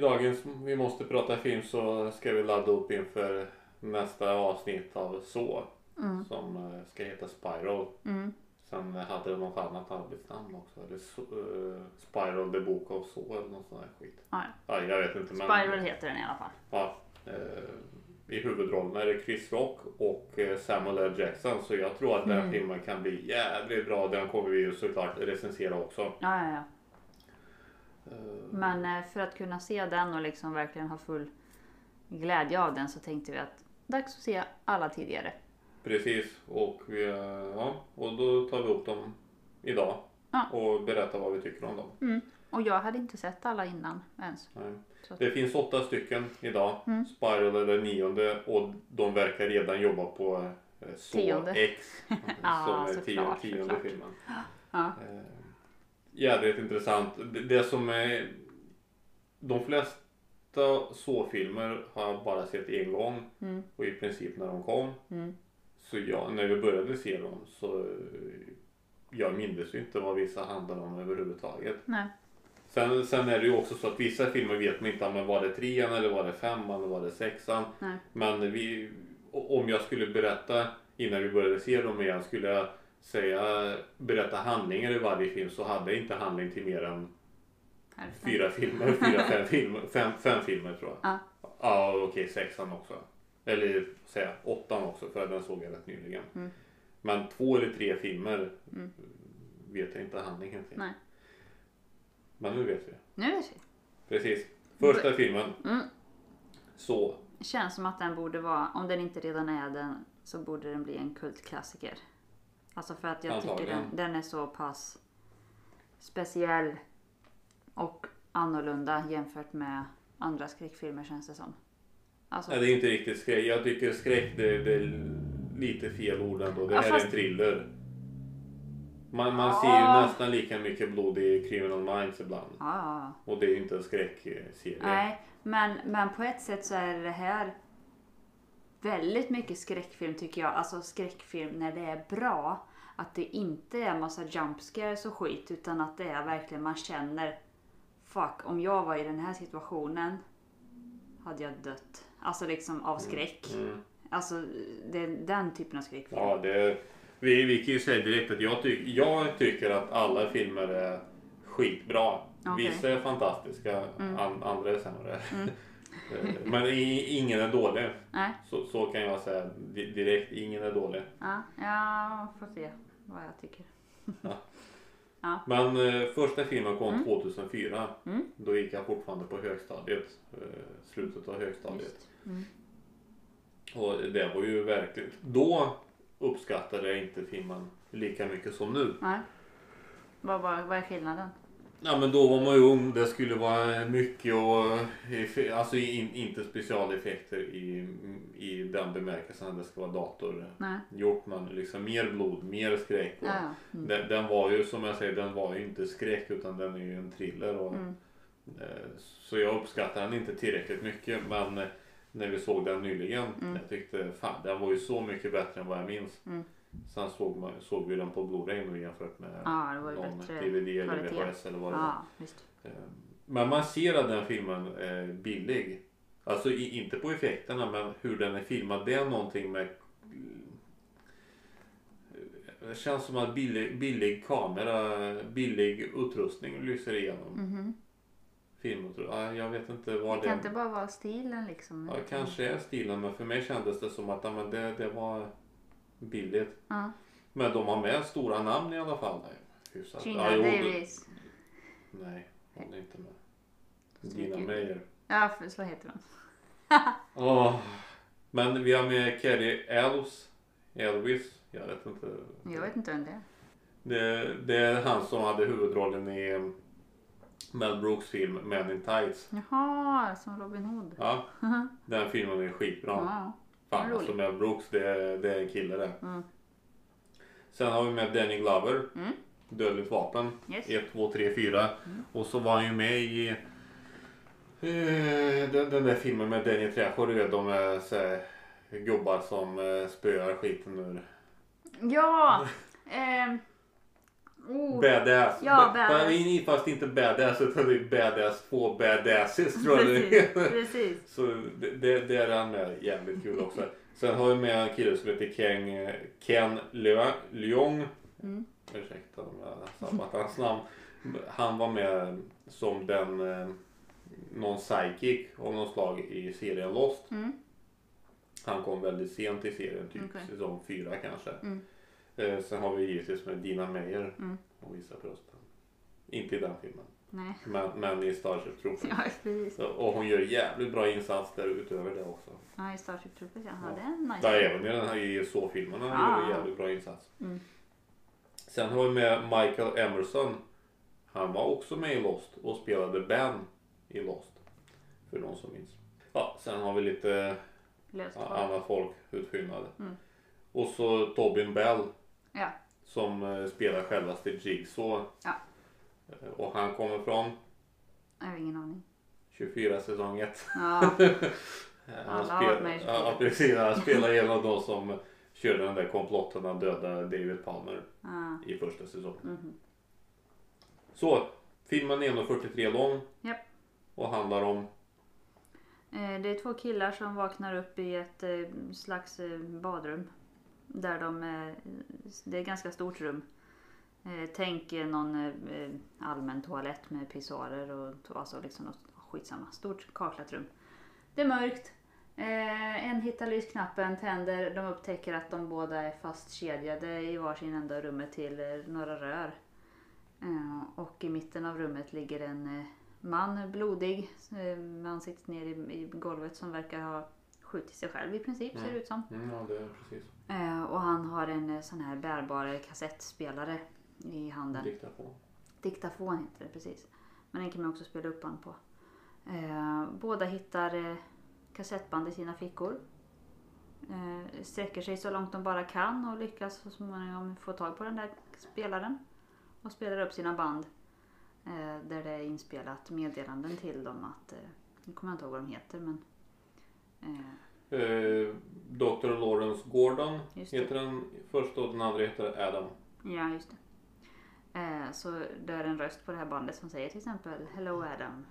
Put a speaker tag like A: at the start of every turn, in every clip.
A: dagens Vi måste prata film så ska vi ladda upp inför nästa avsnitt av Så.
B: Mm.
A: Som eh, ska heta Spiral.
B: Mm.
A: Sen hade de något annat arbetsnamn också. Eller så, eh, Spiral the Book of Saw eller någon sån här skit.
B: Ja,
A: Ja, jag vet inte men.
B: Spiral heter den i alla fall.
A: Ja, eh, I huvudrollen är det Chris Rock och eh, Samuel L. Jackson. Så jag tror att den här
B: Mm.
A: filmen kan bli jävligt bra. Den kommer vi ju såklart recensera också.
B: Ja, ja, ja.
A: Eh,
B: Men eh, för att kunna se den och liksom verkligen ha full glädje av den så tänkte vi att dags att se alla tidigare.
A: Precis och, vi, eh, ja, och då tar vi upp dem idag
B: Ja.
A: och berättar vad vi tycker om dem.
B: Och jag hade inte sett alla innan ens.
A: Nej.
B: Så att-
A: Det finns åtta stycken idag.
B: Mm.
A: Spiral är den nionde och de verkar redan jobba på eh, Saw
B: Tionde.
A: X. Som
B: Ja,
A: är tio,
B: såklart,
A: tionde
B: såklart.
A: filmen.
B: Ja.
A: Eh, jävligt intressant. Det, det som är... De flesta Saw-filmer har jag bara sett en gång
B: Mm.
A: och i princip när de kom.
B: Mm.
A: Så jag, när vi började se dem så eh, jag mindes ju inte vad vissa handlade om överhuvudtaget.
B: Nej.
A: Sen, sen är det ju också så att vissa filmer vet man inte om var det trean eller var det femman eller var det sexan.
B: Nej.
A: Men vi, o- om jag skulle berätta innan vi började se dem igen skulle jag säga berätta handlingar i varje film så hade jag inte handling till mer än
B: Hälften.
A: fyra filmer, fyra fem filmer, fem, fem filmer tror jag.
B: Ja.
A: Ja okej sexan också. Eller säga åttan också för den såg jag rätt nyligen.
B: Mm.
A: Men två eller tre filmer
B: Mm.
A: vet jag inte handlingen till.
B: Nej.
A: Men nu vet vi.
B: Nu vet vi.
A: Precis. Första filmen.
B: Mm.
A: Så.
B: Känns som att den borde vara, om den inte redan är den, så borde den bli en kultklassiker. Alltså för att jag tycker
A: Antagligen.
B: den, den är så pass speciell och annorlunda jämfört med andra skräckfilmer känns det som. Alltså,
A: Nej, det är inte riktigt skräck. Jag tycker skräck det, det är lite fel ord ändå. Det
B: Ja,
A: här är
B: fast-
A: en thriller. Man, man
B: Ja.
A: ser ju nästan lika mycket blod i Criminal Minds ibland.
B: ja, ja, ja.
A: Och det är ju inte en skräckserie.
B: Nej, men, men på ett sätt så är det här väldigt mycket skräckfilm tycker jag. Alltså skräckfilm när det är bra. Att det inte är massa jump scares och skit utan att det är verkligen man känner Fuck, om jag var i den här situationen hade jag dött. Alltså liksom av skräck.
A: Mm.
B: Alltså det är den typen av skräckfilm.
A: Ja, det, vi, vi kan ju säga direkt att jag, tyck, jag tycker att alla filmer är skitbra.
B: Okej. Mm.
A: Vissa är fantastiska, an, andra är sämre. Eh, Men i, ingen är dålig.
B: Nej,
A: Så, så kan jag säga di- direkt, ingen är dålig.
B: ja, jag får se vad jag tycker.
A: Men eh, första filmen kom 2004.
B: Mm.
A: Då gick jag fortfarande på högstadiet, eh, slutet av högstadiet.
B: Just. Mm.
A: Och det var ju verkligen, då uppskattade jag inte filmen lika mycket som nu.
B: Nej. Vad, vad, vad är skillnaden?
A: Ja men då var man ju ung. Det skulle vara mycket och eff- alltså in, inte specialeffekter i, i den bemärkelsen att det ska vara datorgjort
B: Nej.
A: men liksom mer blod, mer skräck. Och
B: Ja, ja. Mm.
A: den, den var ju som jag säger, den var ju inte skräck utan den är ju en thriller. Och,
B: Mm.
A: eh, så jag uppskattar den inte tillräckligt mycket men eh, när vi såg den nyligen, jag tyckte fan den var ju så mycket bättre än vad jag minns.
B: Mm.
A: Sen såg, man, såg vi den på Blu-ray nu jämfört med
B: Ja, det var ju
A: någon
B: bättre
A: DVD eller
B: kvalitet.
A: VHS eller vad det var.
B: Ja, visst.
A: Eh, Men man ser att den filmen är billig. Alltså i, inte på effekterna men hur den är filmad. Det är någonting med... eh, Det känns som att billig, billig kamera, billig utrustning lyser igenom
B: Mhm.
A: filmen. tror jag. Ja, Jag vet inte vad
B: Det kan
A: det...
B: inte bara vara stilen liksom.
A: Ja, kanske är stilen men för mig kändes det som att ja, men det, det var billigt.
B: Ja.
A: Men de har med stora namn i alla fall. Nej, hyfsat.
B: Gina
A: jo, det-
B: Davis.
A: Nej, hon är inte med.
B: Stryker
A: Gina
B: vi.
A: Meyer.
B: Ja, för, så heter hon.
A: Ja, men vi har med Kerry Elves. Elvis, jag vet inte.
B: Jag vet inte vem det är.
A: Det, det är han som hade huvudrollen i eh, Mel Brooks film Men in Tights.
B: Jaha, som Robin Hood.
A: Ja, den filmen är skitbra.
B: Mhm. Ja.
A: Fan
B: rolig.
A: alltså Mel Brooks, det, är- det är en kille det.
B: Mm.
A: Sen har vi med Danny Glover.
B: Mm.
A: Dödligt vapen.
B: Yes.
A: 1, 2, 3, 4.
B: Mm.
A: Och så var han ju med i eh, den, den där filmen med Danny Trejo. Du vet de är så här, gubbar som eh, spöar skiten ur.
B: Ja! ehm, Oh,
A: Badass. Ba-
B: Ja, badass.
A: men in- Fast inte badass utan det är badass två badasses tror jag det
B: precis,
A: är.
B: precis.
A: Så det, det, det är han med. Jävligt kul också. Sen har vi med en kille som heter Ken, Ken Lö- Leong.
B: Mm.
A: Ursäkta om jag har sabbat hans namn. Han var med som den eh, någon psychic av något slag i serien Lost.
B: Mm.
A: Han kom väldigt sent i serien, typ
B: Okej.
A: säsong fyra kanske.
B: Mm.
A: Eh, sen har vi givetvis med Dina Meyer
B: Mm.
A: och Isa Prosten. Inte i den filmen,
B: Nej,
A: men, men i Starship Troopers.
B: ja precis.
A: Så- Och hon gör jävligt bra insats där utöver det också.
B: Ja, i Starship Troopers ja. ja.
A: Ja.
B: Det är en nice.
A: Där även i den här E i så-filmerna
B: Ah.
A: gör en jävligt bra insats.
B: Mm.
A: Sen har vi med Michael Emerson. Han var också med i Lost och spelade Ben i Lost. För någon som minns. Ja, sen har vi lite
B: Löst
A: ja,
B: hår.
A: annat folk utfyllnade.
B: Mm.
A: Och så Tobin Bell
B: Ja.
A: som eh, spelar självaste Jigsaw.
B: Ja.
A: Eh, Och han kommer från
B: Jag har ingen aning.
A: 24 säsong 1.
B: Ja,
A: Han
B: Alla har varit med i
A: ja, ja, precis. Han spelar en av de som körde den där komplotten att döda David Palmer
B: ja.
A: i första säsongen.
B: Mhm.
A: Så, filmen är 1.43 lång
B: Japp.
A: och handlar om...
B: Eh, Det är två killar som vaknar upp i ett eh, slags eh, badrum. Där de, eh, det är ett ganska stort rum. Eh, Tänk eh, någon eh, eh, allmän toalett med pissoarer och to- alltså liksom något skitsamma. Stort kaklat rum. Det är mörkt. Eh, En hittar lysknappen, tänder. De upptäcker att de båda är fastkedjade i varsin ända av rummet till eh, några rör. Eh, Och i mitten av rummet ligger en eh, man, blodig, eh, med ansiktet ner i, i golvet som verkar ha skjutit sig själv i princip, ser det ut som.
A: Mm, ja, det är precis.
B: Eh, Och han har en eh, sån här bärbar kassettspelare i handen.
A: Dikta på.
B: Diktafon heter det precis. Men den kan man också spela upp band på. Eh, båda hittar eh, kassettband i sina fickor. Eh, sträcker sig så långt de bara kan och lyckas så småningom få tag på den där spelaren. Och spelar upp sina band. Eh, där det är inspelat meddelanden till dem att, eh, nu kommer jag inte ihåg vad de heter men. Eh,
A: Eh, Dr. Lawrence Gordon
B: Just det.
A: heter den första och den andra heter Adam.
B: ja just det. Eh, så det är en röst på det här bandet som säger till exempel Hello Adam.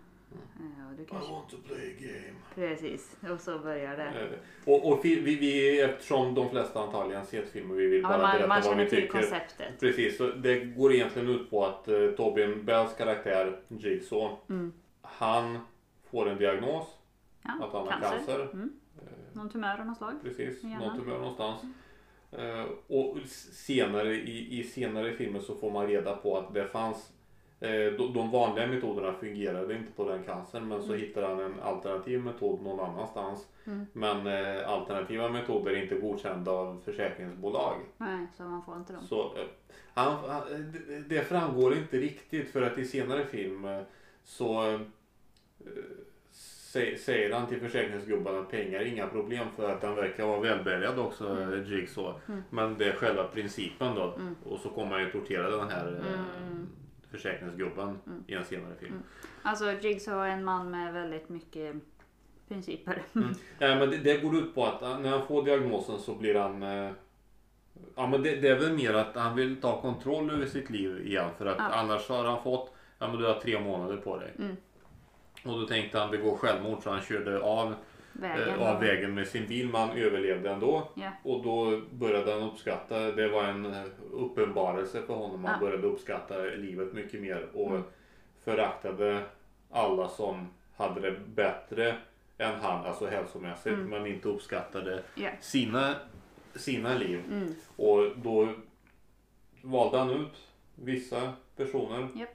B: Eh, och du
A: I
B: kanske...
A: want to play a game.
B: Precis, och så börjar det.
A: Eh, och och fi- vi, vi, eftersom de flesta antagligen sett filmen, vi vill
B: Ja,
A: bara
B: men man,
A: berätta
B: man
A: vad
B: känner
A: vi
B: till
A: tycker.
B: konceptet.
A: Precis, så det går egentligen ut på att eh, Tobin Bells karaktär Jigsaw,
B: Mm.
A: han får en diagnos
B: Ja,
A: att han har
B: Ah, cancer.
A: cancer.
B: Mm.
A: Eh,
B: Någon tumör av något slag.
A: precis,
B: Gärna.
A: något tumör någonstans. Eh, och s- senare i, i senare filmer så får man reda på att det fanns eh, de, de vanliga metoderna fungerade inte på den cancern men så hittar han en alternativ metod någon annanstans.
B: Mm.
A: Men eh, alternativa metoder är inte godkända av försäkringsbolag.
B: Nej, så man får inte dem.
A: Så, eh, han, han, det- det framgår inte riktigt för att i senare film eh, så eh, sä, säger han till försäkringsgubben att pengar är inga problem för att han verkar vara välbärgad också, mm. Jigsaw.
B: Mm.
A: Men det är själva principen då.
B: Mm.
A: Och så kommer han ju tortera den här eh,
B: Mm.
A: försäkringsgubben
B: Mm.
A: i en senare film.
B: Mm. Alltså Jigsaw är en man med väldigt mycket principer.
A: Nej, men det, det går ut på att eh, när han får diagnosen så blir han... Eh, ja, men det, det är väl mer att han vill ta kontroll över sitt liv igen. För att
B: Ja.
A: annars har han fått... Ja, men du har tre månader på dig.
B: Mm.
A: Och då tänkte han begå självmord så han körde av,
B: Vägen.
A: eh, av vägen med sin bil. Men han överlevde ändå.
B: Ja.
A: Och då började han uppskatta, det var en eh, uppenbarelse för honom. Han
B: Ja.
A: började uppskatta livet mycket mer och
B: Mm.
A: föraktade alla som hade det bättre än han, alltså hälsomässigt,
B: Mm.
A: men inte uppskattade
B: Ja.
A: sina, sina liv.
B: Mm.
A: Och då valde han ut vissa personer
B: Japp.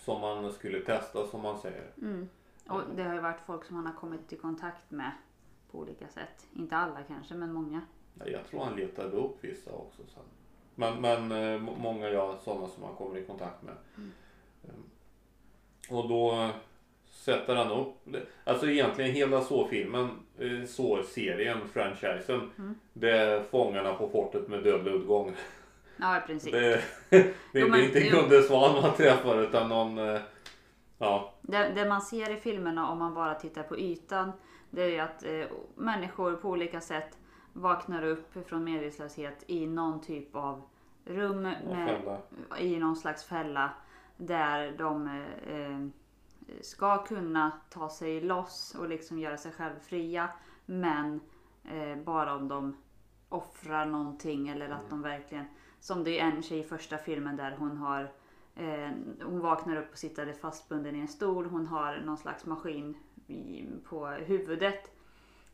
A: som han skulle testa, som man säger.
B: Mm. Och det har ju varit folk som han har kommit i kontakt med på olika sätt. Inte alla kanske, men många.
A: Ja, Jag tror han letade upp vissa också sen. Men, men eh, må- många ja, sådana som han kommer i kontakt med.
B: Mm.
A: Eh, Och då eh, sätter han upp, det- alltså egentligen hela så-filmen, eh, så-serien, franchisen.
B: Mm.
A: Det är Fångarna på fortet med dödlig utgång.
B: Ja, i princip.
A: Det, det
B: Jo,
A: är
B: men
A: inte
B: det-
A: Gunde Svan man träffar utan någon, eh, ja,
B: Det, det man ser i filmerna om man bara tittar på ytan, det är ju att eh, människor på olika sätt vaknar upp från medvetslöshet i någon typ av rum
A: Och
B: med,
A: fälla.
B: i någon slags fälla där de eh, eh, ska kunna ta sig loss och liksom göra sig själv fria. Men eh, bara om de offrar någonting eller att de verkligen, som det är en tjej i första filmen där hon har eh, hon vaknar upp och sitter fastbunden i en stol. Hon har någon slags maskin i, på huvudet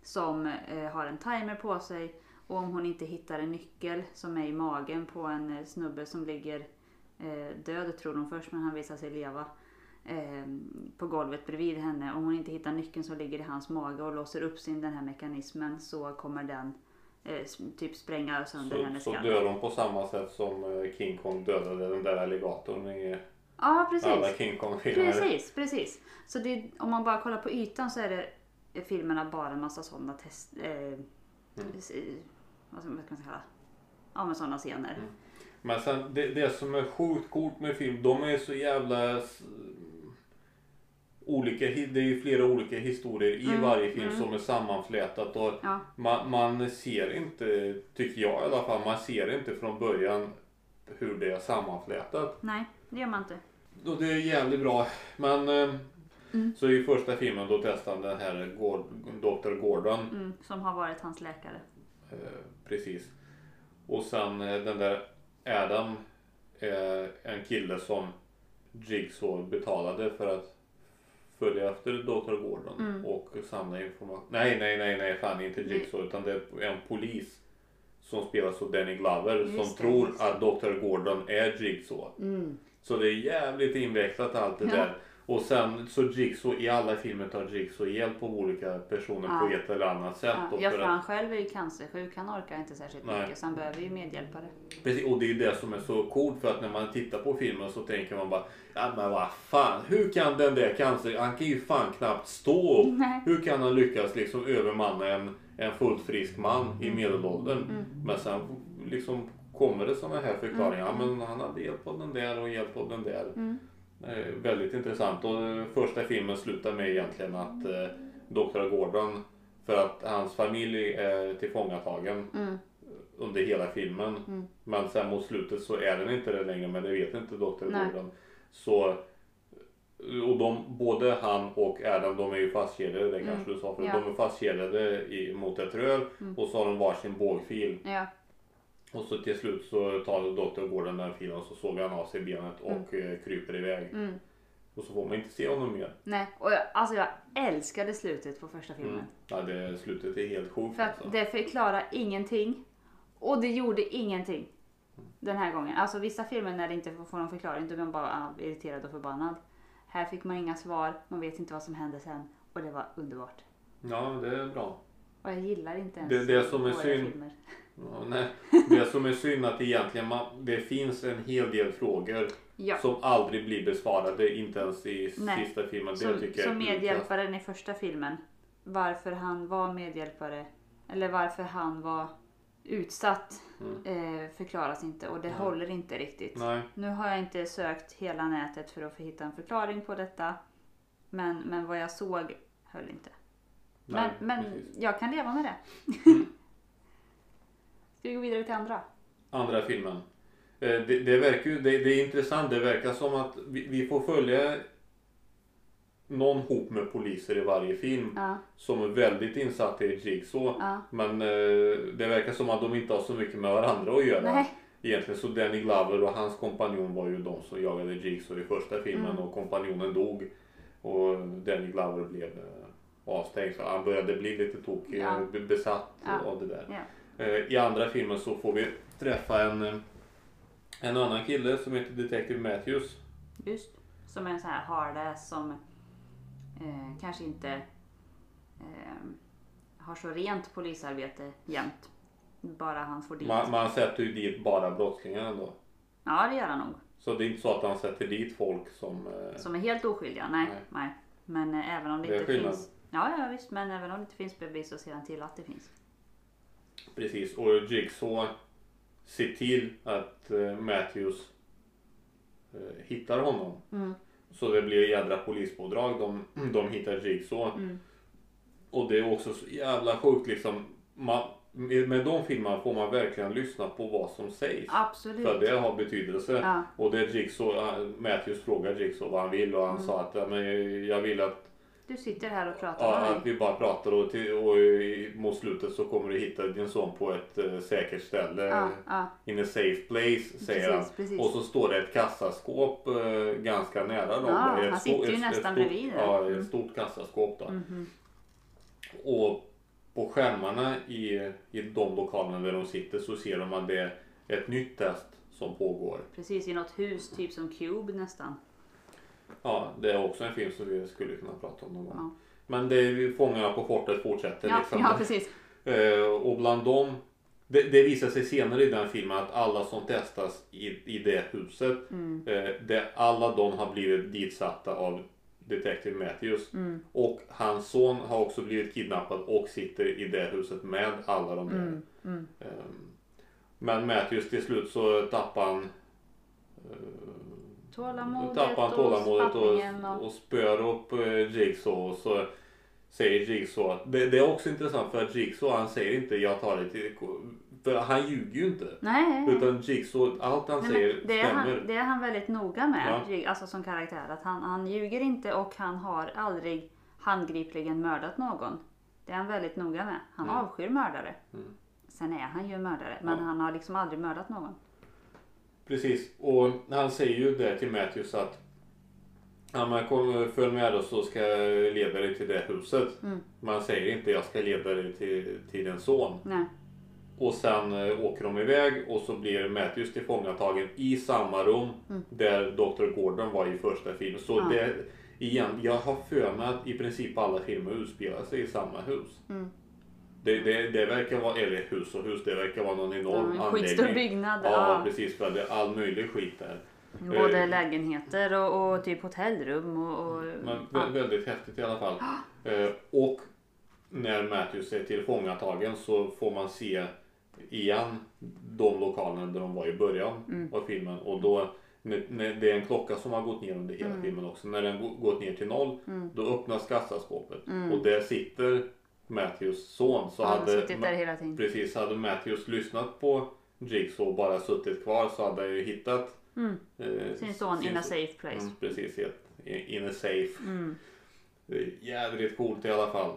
B: som eh, har en timer på sig. Och om hon inte hittar en nyckel som är i magen på en eh, snubbe som ligger eh, död tror hon först men han visar sig leva. Eh, på golvet bredvid henne. Om hon inte hittar nyckeln som ligger i hans mage och låser upp sin den här mekanismen så kommer den eh, s- typ spränga sönder
A: Så,
B: hennes
A: så
B: skalle.
A: dör de på samma sätt som eh, King Kong dödade den där alligatorn i
B: Ja precis.
A: alla King Kong-filmer.
B: Precis, precis. Så det, om man bara kollar på ytan så är det är filmerna bara en massa sådana test... Eh,
A: Mm.
B: s- vad, ska, vad ska man kalla Ja men sådana scener.
A: Mm. Men sen det, det som är sjukt coolt med film, de är så jävla s- olika, hi- det är ju flera olika historier i varje film som är sammanflätat och
B: Ja.
A: man, man ser inte, tycker jag i alla fall, man ser inte från början hur det är sammanflätat.
B: Nej, det gör man inte.
A: Och det är jävligt bra. Men eh, så i första filmen då testar han den här Gord, Dr. Gordon.
B: Mm, som har varit hans läkare.
A: Eh, precis. Och sen eh, den där Adam är en kille som Jigsaw betalade för att följa efter Dr. Gordon
B: Mm.
A: och samla information. Nej, nej, nej, nej, fan inte Jigsaw utan det är en polis som spelas av Danny Glover
B: Just
A: som
B: det,
A: tror
B: just det.
A: att Dr. Gordon är Jigsaw. Så det är jävligt invecklat allt det
B: Ja.
A: där. Och sen så Jigsaw i alla filmer tar Jigsaw hjälp av olika personer på
B: Ja.
A: ett eller annat sätt.
B: Ja,
A: då
B: ja,
A: för
B: för
A: att-
B: han själv är ju cancersjuk. Han orkar inte särskilt
A: Nej.
B: mycket så han behöver ju medhjälpare.
A: Precis, och det är ju det som är så coolt för att när man tittar på filmen så tänker man bara Ja men vad fan, hur kan den där cancer, han kan ju fan knappt stå upp.
B: Nej.
A: Hur kan han lyckas liksom övermanna en, en fullt frisk man i medelåldern? Men sen liksom kommer det sådana här förklaringar. Ja men han hade hjälp av den där och hjälp av den där.
B: Mm,
A: Eh, väldigt intressant och eh, första filmen slutar med egentligen att eh, Dr. Gordon för att hans familj är tillfångatagen
B: mm,
A: under hela filmen. Men sen mot slutet så är den inte det längre men det vet inte Dr.
B: Nej.
A: Gordon. Så, och de, både han och Adam de är ju fastkedjade, det kanske du sa förut.
B: Mm. ja. Mm.
A: De är fastkedjade i, mot ett rör och så har de varsin bågfil.
B: Ja,
A: Och så till slut så tar Dr. Gordon den filen och så sågar han av sig benet
B: Mm.
A: och eh, kryper iväg. Och så får man inte se honom mer.
B: nej. Och jag, alltså jag älskade slutet på första filmen.
A: Ja, det, slutet är helt sjukt alltså.
B: För att det förklarar ingenting. Och det gjorde ingenting. Den här gången. Alltså vissa filmer när det inte får någon förklaring då blir man bara ah, irriterad och förbannad. Här fick man inga svar, man vet inte vad som hände sen. Och det var underbart.
A: Ja, det är bra.
B: Och jag gillar inte ens
A: Det- det som är
B: dåliga
A: synd-
B: filmer.
A: Ja, nej. Det som är synd att egentligen man, det finns en hel del frågor
B: Ja.
A: som aldrig blir besvarade, inte ens i
B: Nej.
A: sista filmen. Det
B: Som,
A: tycker jag är
B: som
A: utkast.
B: medhjälparen i första filmen. Varför han var medhjälpare. Eller varför han var utsatt.
A: Mm.
B: Eh, förklaras inte och det håller inte riktigt.
A: Nej.
B: Nu har jag inte sökt hela nätet för att få hitta en förklaring på detta. Men, men vad jag såg höll inte.
A: Nej,
B: men men
A: precis. Mm.
B: jag kan leva med det. Ska vi gå vidare till andra?
A: Andra filmen. Eh, Det, det, verkar ju, det, det är intressant. Det verkar som att vi, vi får följa någon hop med poliser i varje film
B: Ja.
A: som är väldigt insatta i Jigsaw.
B: Ja.
A: Men eh, det verkar som att de inte har så mycket med varandra att göra.
B: Nej.
A: Egentligen så Danny Glover och hans kompanjon var ju de som jagade Jigsaw i första filmen
B: Mm.
A: och kompanjonen dog. Och Danny Glover blev eh, avstängd. Så han började bli lite tokig,
B: Ja.
A: eh, be- besatt
B: Ja.
A: av det där.
B: Ja.
A: Eh, I andra filmen så får vi träffa en, eh, en annan kille som heter Detective Matthews.
B: Just. Som är en sån här hardass som eh, kanske inte eh, har så rent polisarbete jämt. Bara han får dit.
A: Man, man sätter ju dit bara brottslingar ändå.
B: Ja det gör han nog.
A: Så det är inte så att han sätter dit folk som... eh,
B: Som är helt oskyldiga? Nej.
A: Nej.
B: nej. Men eh, även om det,
A: Det är
B: inte
A: skillnad.
B: finns... Ja, ja visst. Men även om det inte finns bevis så ser han till att det finns.
A: Precis, och Jigsaw ser till att eh, Matthews eh, hittar honom.
B: Mm.
A: Så det blir jädra polispådrag. De,
B: Mm.
A: de hittar Jigsaw. Och det är också så jävla sjukt liksom. Man, Med med de filmerna får man verkligen lyssna på vad som sägs. För
B: Absolut.
A: det har betydelse.
B: Ja.
A: Och det Jigsaw, han- Matthews frågade Jigsaw vad han vill och han
B: Mm.
A: sa att ja, men jag vill att,
B: Du sitter här och
A: ja,
B: pratar med
A: att
B: mig.
A: vi bara pratar och, till, och i, mot slutet så kommer du hitta din son på ett eh, säkert ställe.
B: Ja, ja.
A: In a safe place säger
B: Precis,
A: han.
B: precis.
A: Och så står det ett kassaskåp eh, ganska nära dem.
B: Ja,
A: Ett
B: han
A: sto-
B: sitter ju
A: ett- ett
B: nästan
A: stort-
B: bredvid där. Mm.
A: Ja, ett stort kassaskåp då.
B: Mhm.
A: Och på skärmarna i, i de lokalerna där de sitter så ser de att det är ett nytt test som pågår.
B: Precis, i något hus, typ som Cube nästan.
A: Ja, det är också en film som vi skulle kunna prata om någon gång.
B: Ja.
A: Men det är ju Fångarna på fortet fortsätter
B: Ja,
A: liksom.
B: ja precis.
A: Eh, och bland dem, det, det visar sig senare i den filmen att alla som testas i, i det huset, eh, det, alla de har blivit ditsatta av Detective Matthews. Och hans son har också blivit kidnappad och sitter i det huset med alla de där. Ehm, men Matthews till slut så tappar han
B: Tålamodet,
A: tappar han tålamodet
B: spattningen
A: och, och spöar upp eh, Jigsaw och så säger Jigsaw att det, det är också intressant för att Jigsaw han säger inte jag tar det till för han ljuger ju inte.
B: Nej, nej, nej.
A: Utan Jigsaw, allt han
B: Nej,
A: säger
B: men det, är
A: stämmer.
B: han, det är han väldigt noga med,
A: Ja.
B: Jig- alltså som karaktär. Att han, han ljuger inte och han har aldrig handgripligen mördat någon. Det är han väldigt noga med. Han avskyr mördare. Sen är han ju en mördare, men
A: Mm. Ja.
B: han har liksom aldrig mördat någon.
A: Precis, och han säger ju det till Matthews att ja, men kom, följ med oss så ska jag leda dig till det huset.
B: Mm.
A: Men han säger inte jag ska leda dig till, till din son.
B: Nej.
A: Och sen eh, åker de iväg och så blir Matthews tillfångatagen i samma rum där Dr. Gordon var i första filmen. Så
B: Mm. Ja.
A: det, igen, jag har för mig att i princip alla filmer utspelar sig i samma hus.
B: Mm.
A: Det, det, det verkar vara, eller hus och hus, det verkar vara någon enorm
B: en
A: anläggning.
B: skitstor byggnad.
A: Ja,
B: ja.
A: precis. För det är all möjlig skit där.
B: Både
A: Eh,
B: lägenheter och, och typ hotellrum och... och
A: Men
B: Mm. ja.
A: vä- väldigt häftigt i alla fall. Eh, Och när Matthews är tillfångatagen så får man se igen de lokalerna där de var i början
B: Mm.
A: av filmen. Och då, när- när det är en klocka som har gått ner under hela
B: Mm.
A: filmen också. När den gå- gått ner till noll då öppnas kassaskåpet. Och där sitter Matthews son. Så
B: Mm. Ja, han
A: hade
B: suttit
A: Ma-
B: där hela tiden.
A: Precis, hade Matthews lyssnat på Jigsaw och bara suttit kvar så hade han ju hittat eh,
B: Mm. Sin son in a safe place. Mm.
A: Mm, precis, i ett- i- in a safe. Det är Jävligt coolt i alla fall.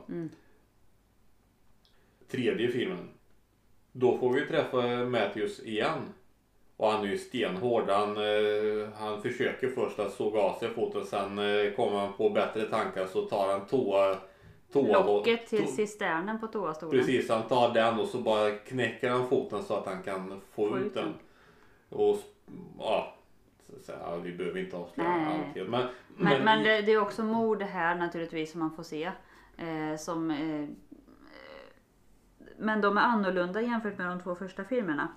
A: Tredje filmen. Då får vi träffa Matthews igen. Och han är ju stenhård. Han, eh, han försöker först att såga av sig foten. Sen eh, kommer han på bättre tankar så tar han toa... toa
B: Locket till
A: to-
B: cisternen på toastolen.
A: Precis, han tar den och så bara knäcker han foten så att han kan få, ut den. Och ja, så, så, ja, vi behöver inte avslöja
B: Nej.
A: allt. helt. Men,
B: Men, men det, det är också mord här naturligtvis som man får se. Eh, som, eh, eh, men de är annorlunda jämfört med de två första filmerna.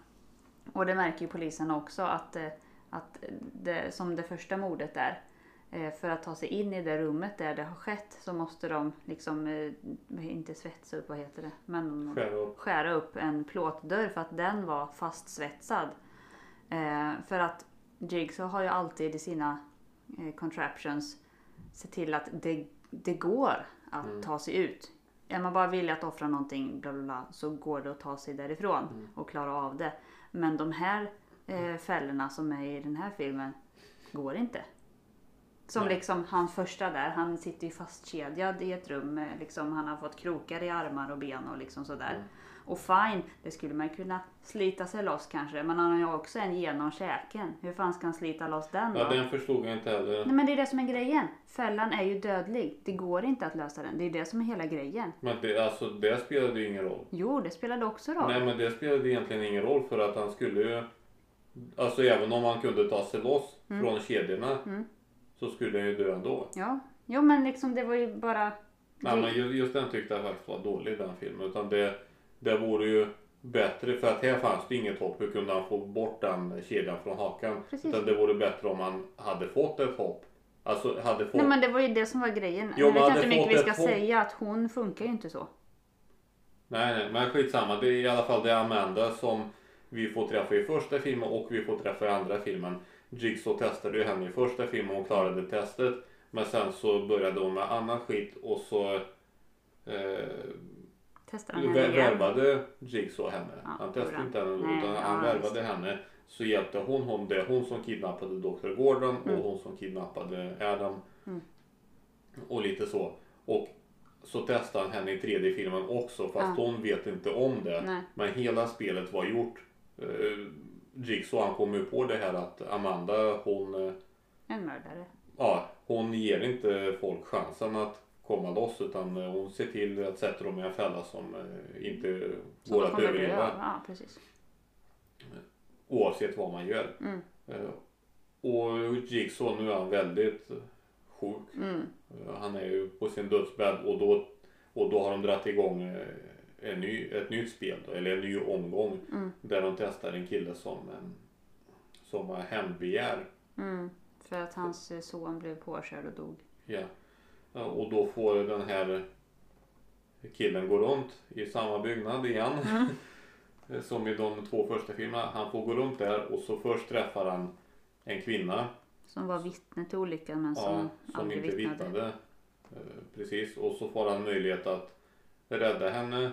B: Och det märker ju polisen också att, eh, att det, som det första mordet där. eh, För att ta sig in i det rummet där det har skett så måste de liksom, eh, inte svetsa upp, vad heter det? Men
A: Skära upp.
B: skära upp en plåtdörr för att den var fastsvetsad. Eh, för att Jigsaw har ju alltid i sina eh, contraptions sett till att det, det går att
A: Mm.
B: ta sig ut. Är man bara villig att offra någonting bla bla, bla, så går det att ta sig därifrån
A: Mm.
B: och klara av det. Men de här eh, fällorna som är i den här filmen går inte. Som
A: Nej.
B: liksom han första där, han sitter ju fastkedjad i ett rum. eh, Liksom, han har fått krokar i armar och ben och liksom sådär.
A: Mm.
B: Och fine, det skulle man kunna slita sig loss kanske. Men han har ju också en genom käken. Hur fan ska han slita loss den då?
A: ja, den förstod jag inte heller.
B: Nej men det är det som är grejen. Fällan är ju dödlig. Det går inte att lösa den. Det är det som är hela grejen.
A: Men det, alltså, det spelade ju ingen roll.
B: Jo, det spelade också roll.
A: Nej, men det spelade egentligen ingen roll för att han skulle ju... Alltså även om han kunde ta sig loss
B: Mm.
A: från kedjorna så skulle han ju dö ändå.
B: Ja. Jo men liksom det var ju bara... Mm.
A: Nej, men ju- just den tyckte jag faktiskt var dålig den filmen. Utan det, det vore ju bättre, för att här fanns det inget hopp. Hur kunde han få bort den kedjan från hakan?
B: Precis.
A: Utan det vore bättre om han hade fått ett hopp. Alltså hade fått...
B: Nej men det var ju det som var grejen.
A: Jo,
B: jag
A: men
B: vet
A: hade
B: inte hur mycket vi
A: fått
B: ska
A: ett hopp.
B: säga att hon funkar ju inte så.
A: Nej, nej, men skitsamma. Det är i alla fall det är Amanda som vi får träffa i första filmen och vi får träffa i andra filmen. Jigsaw testade ju henne i första filmen och klarade testet. Men sen så började hon med annan skit och så eh,
B: Testar han henne
A: Vär-
B: igen?
A: Värvade Jigsaw henne?
B: Ja,
A: han
B: gjorde
A: testade
B: han.
A: inte henne
B: Nej,
A: utan
B: ja,
A: han
B: visst.
A: värvade henne. Så hjälpte hon honom. Det är hon som kidnappade Dr. Gordon
B: Mm.
A: och hon som kidnappade Adam.
B: Mm.
A: Och lite så. Och så testade han henne i tredje filmen också fast
B: Ja.
A: hon vet inte om det.
B: Nej.
A: Men hela spelet var gjort. Eh, Jigsaw han kom ju på det här att Amanda hon eh,
B: En mördare.
A: ja, hon ger inte folk chansen att komma loss utan eh, hon ser till att sätta dem i en fälla som eh, inte
B: Mm. Så
A: går
B: då
A: att
B: kommer du
A: överleva
B: över. Ja, precis.
A: oavsett vad man gör.
B: Mm.
A: Eh, Och Jigsaw nu är han väldigt eh, sjuk.
B: Mm.
A: Eh, Han är ju på sin dödsbädd och då, och då har de dragit igång eh, en ny, ett nytt spel då, eller en ny omgång
B: Mm.
A: där de testar en kille som, eh, som har hämndbegär.
B: Mm. För att hans eh, son blev påkörd och dog.
A: Ja. Ja, Och då får den här killen gå runt i samma byggnad igen. Som i de två första filmerna. Han får gå runt där och så först träffar han en kvinna
B: Som var vittne till olyckan men
A: ja,
B: som,
A: som
B: aldrig
A: inte
B: vittnade.
A: vittnade. Eh, Precis. Och så får han möjlighet att rädda henne.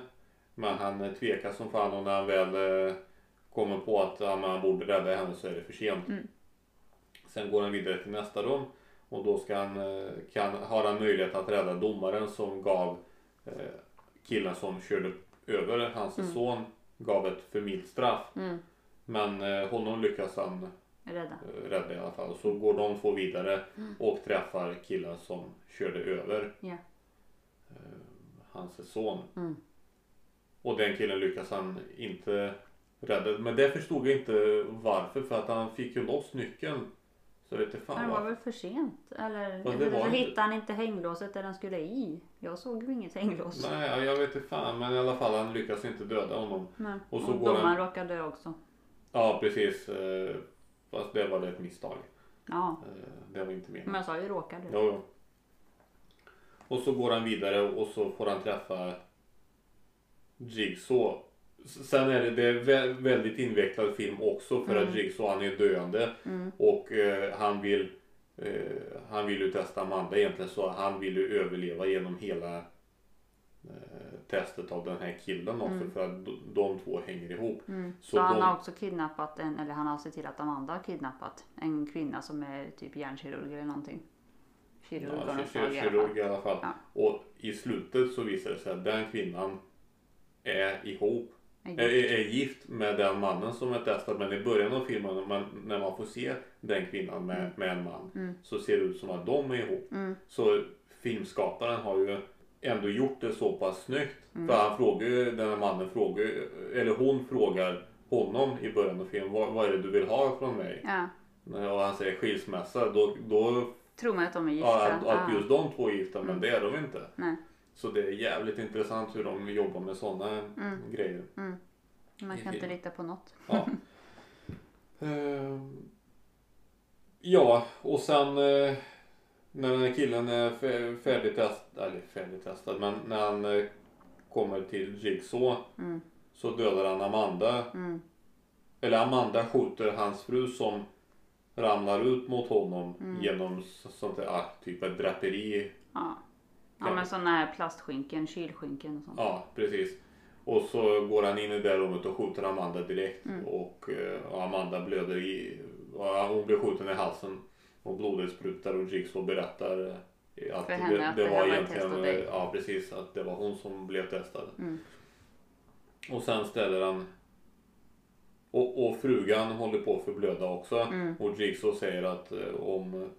A: Men han eh, tvekar som fan och när han väl eh, kommer på att ja, men han borde rädda henne så är det för sent.
B: Mm.
A: Sen går han vidare till nästa rum och då ska han, eh, kan, har han möjlighet att rädda domaren som gav eh, killen som körde över hans
B: Mm.
A: son gav ett för milt straff.
B: Mm.
A: Men eh, honom lyckas han
B: Rädda.
A: eh, rädda i alla fall. Så går de två vidare och träffar killen som körde över
B: Mm.
A: eh,
B: Ja.
A: hans son.
B: Mm.
A: Och den killen lyckas han inte rädda. Men det förstod jag inte varför för att han fick ju loss nyckeln. Så det inte
B: Men det
A: fan
B: var
A: varför.
B: väl för sent? Eller,
A: Ja, det
B: eller
A: var
B: så
A: inte-
B: hittade han inte hänglåset där den skulle i. Jag såg ju inget hänglås.
A: Nej, ja, jag vet inte fan men i alla fall han lyckas inte döda honom.
B: Nej.
A: Och
B: Och,
A: så går
B: domaren
A: han-
B: råkade dö också.
A: Ja precis. eh, Fast det var ett misstag.
B: Ja,
A: Eh, Det var inte meningen.
B: men jag sa ju råkade.
A: Ja, ja. Och så går han vidare och så får han träffa Jigsaw. S- Sen är det, det är vä- väldigt invecklad film också för att Jigsaw han är döende
B: Mm.
A: och eh, han vill eh, han vill ju testa Amanda egentligen så han vill ju överleva genom hela eh, testet av den här killen också för att d- de två hänger ihop.
B: Mm. Så,
A: Så
B: han
A: de-
B: har också kidnappat en, eller han har sett till att Amanda har kidnappat en kvinna som är typ hjärnkirurg eller någonting.
A: Ja,
B: Kirurg av något slag i alla fall.
A: kirurg i alla fall.
B: Ja.
A: Och i slutet så visar det sig att den kvinnan är ihop
B: En
A: är,
B: gift.
A: är gift med den mannen som är testad men i början av filmen när man, när man får se den kvinnan med, med en man
B: Mm.
A: så ser det ut som att de är ihop.
B: Mm.
A: Så filmskaparen har ju ändå gjort det så pass snyggt. För han frågar ju, den här mannen frågar ju- eller hon frågar honom i början av filmen vad, vad är det du vill ha från mig?
B: Ja.
A: Och han säger skilsmässa. Då, då
B: Tror man att de är gifta?
A: ja, att, att
B: Ah.
A: just de två är gifta men
B: Mm.
A: det är de inte.
B: Nej.
A: Så det är jävligt intressant hur de jobbar med sådana
B: Mm.
A: grejer.
B: Man
A: i
B: kan inte
A: filmen.
B: lita på något.
A: Ja. Ehm, ja, och sen eh, när den här killen är fär- färdigtestad, eller färdigtestad, men när han eh, kommer till Jigsaw
B: Mm.
A: så dödar han Amanda.
B: Mm.
A: Eller Amanda skjuter hans fru som ramlar ut mot honom
B: Mm.
A: genom s- sånt där, ah, typ ett draperi.
B: Ja. ja,
A: Ja.
B: men sådana här plastskynken, kylskynken och sånt.
A: Ja, precis. Och så går han in i det rummet och skjuter Amanda direkt.
B: Mm.
A: Och, eh, och Amanda blöder i... ja, Hon blir skjuten i halsen. Och blodet sprutar och Jigsaw berättar eh, att
B: För henne att det här var ett test av dig.
A: eh, Ja, precis. Att det var hon som blev testad.
B: Mm.
A: Och sen ställer han... Och, och frugan håller på att förblöda också.
B: Mm.
A: Och Jigsaw säger att eh, om,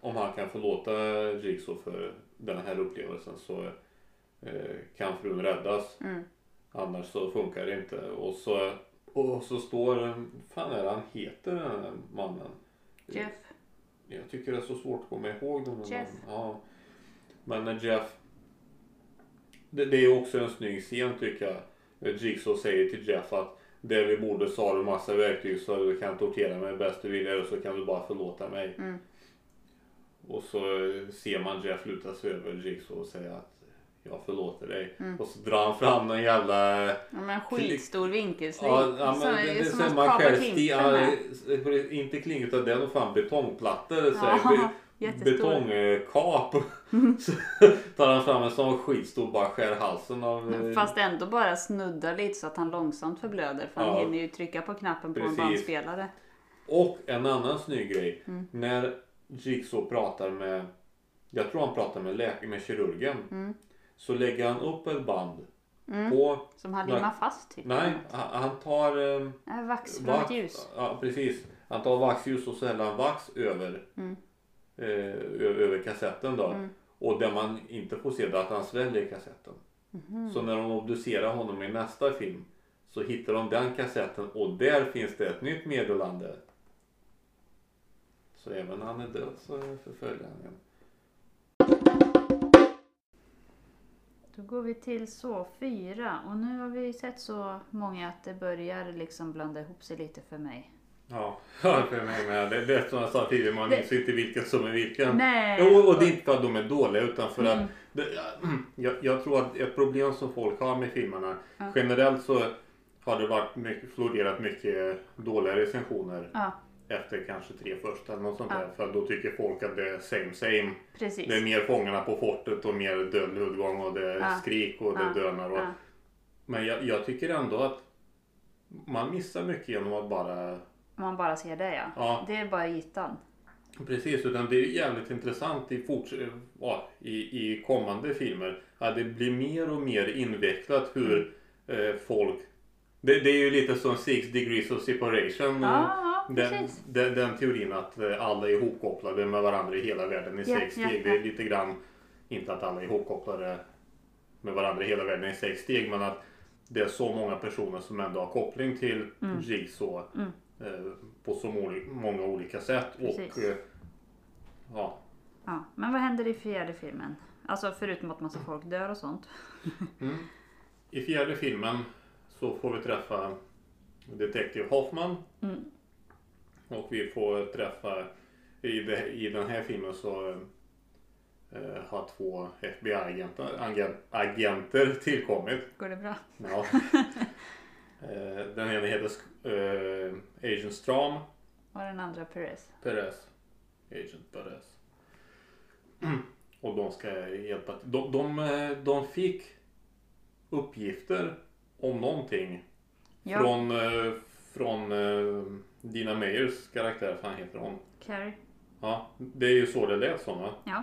A: om han kan förlåta Jigsaw för den här upplevelsen så eh, kan frun räddas.
B: Mm.
A: Annars så funkar det inte. Och så, och så står... fan är det han heter den här mannen?
B: Jeff.
A: Jag tycker det är så svårt att komma ihåg den. här
B: Jeff.
A: mannen. Ja. Men när Jeff... Det, det är också en snygg scen tycker jag. Jigsaw säger till Jeff att det vi borde så har du massa verktyg så du kan tortera mig bäst du vill eller så kan du bara förlåta mig.
B: Mm.
A: Och så eh, ser man Jeff luta sig över Jigsaw och säga att jag förlåter dig.
B: Mm.
A: Och så drar han fram den jävla...
B: Ja, men skitstor vinkelslip.
A: Ja, ja,
B: som
A: men
B: är-
A: det, det,
B: som
A: det,
B: man
A: man
B: kapar
A: själv
B: klinten
A: sti, ja,
B: med.
A: det- det- inte kling utan det är nog fan betongplattor. Så
B: Ja,
A: här,
B: Jättestor.
A: betongkap. Så tar han fram en sån skitstor bara skär halsen av... eh,
B: Fast ändå bara snuddar lite så att han långsamt förblöder. För han
A: Ja.
B: hinner ju trycka på knappen på
A: Precis.
B: en bandspelare.
A: Och en annan snygg grej.
B: Mm.
A: När Jigsaw pratar med, jag tror han pratar med, läk- med kirurgen.
B: Mm.
A: Så lägger han upp ett band på,
B: Som han
A: Nej.
B: limmar fast typ.
A: nej, han han tar eh,
B: Nej, Vax från ett
A: vax.
B: Alltså, ljus.
A: Ja, precis. Han tar vaxljus och så häller han vax över,
B: Mm.
A: eh, ö- över kassetten då. Och det man inte får se det är att han sväljer kassetten.
B: Mhm.
A: Så när de obducerar honom i nästa film så hittar de den kassetten och där finns det ett nytt meddelande. Så även när han är död så förföljer han en.
B: Då går vi till så fyra. Och nu har vi sett så många att det börjar liksom blanda ihop sig lite för mig.
A: Ja, för mig med. Det, det är som jag sa tidigare, man minns ju inte vilken som är vilken.
B: Nej.
A: Jo, och det är inte för att de är dåliga utan för att det, jag, jag tror att ett problem som folk har med filmerna generellt så har det varit mycket, florerat mycket dåliga recensioner
B: Ja,
A: efter kanske tre första eller något sånt
B: Ja.
A: där. För att då tycker folk att det är same same.
B: precis.
A: Det är mer Fångarna på fortet och mer Död ludgång och det är
B: Ja.
A: skrik och det
B: Ja.
A: dönar. Och,
B: Ja.
A: Men jag, jag tycker ändå att man missar mycket genom att bara
B: Man bara ser det ja.
A: Ja.
B: Det är bara ytan.
A: Precis, utan det är ju jävligt intressant i, forts- ja, i, i kommande filmer. Att det blir mer och mer invecklat hur eh, folk... Det, det är ju lite som Six Degrees of Separation.
B: Ja, ja,
A: Mm. den,
B: precis.
A: den, den teorin att eh, alla är ihopkopplade med varandra i hela världen i
B: Ja,
A: sex
B: ja,
A: steg.
B: ja.
A: Det är lite grann, inte att alla är ihopkopplade med varandra i hela världen i sex steg, men att det är så många personer som ändå har koppling till
B: Mm.
A: Jigsaw eh, på så mol- många olika sätt.
B: Precis.
A: Och, eh, ja,
B: Ja. Men vad händer i fjärde filmen? Alltså förutom att massa folk dör och sånt.
A: I fjärde filmen så får vi träffa Detective Hoffman. Och vi får träffa, i, det, i den här filmen så eh, har två FBI-agenter agen- agenter tillkommit.
B: Går det bra?
A: Ja. Eh, den ena heter Sk- eh, Agent Stram
B: Och den andra Perez.
A: Perez. Agent Perez. Och de ska hjälpa till. De, de, eh, de fick uppgifter om någonting
B: Ja,
A: från, eh, från eh, Dina Meyers karaktär, fan heter hon?
B: Carrie.
A: Ja, det är ju så det lät som va?
B: Ja.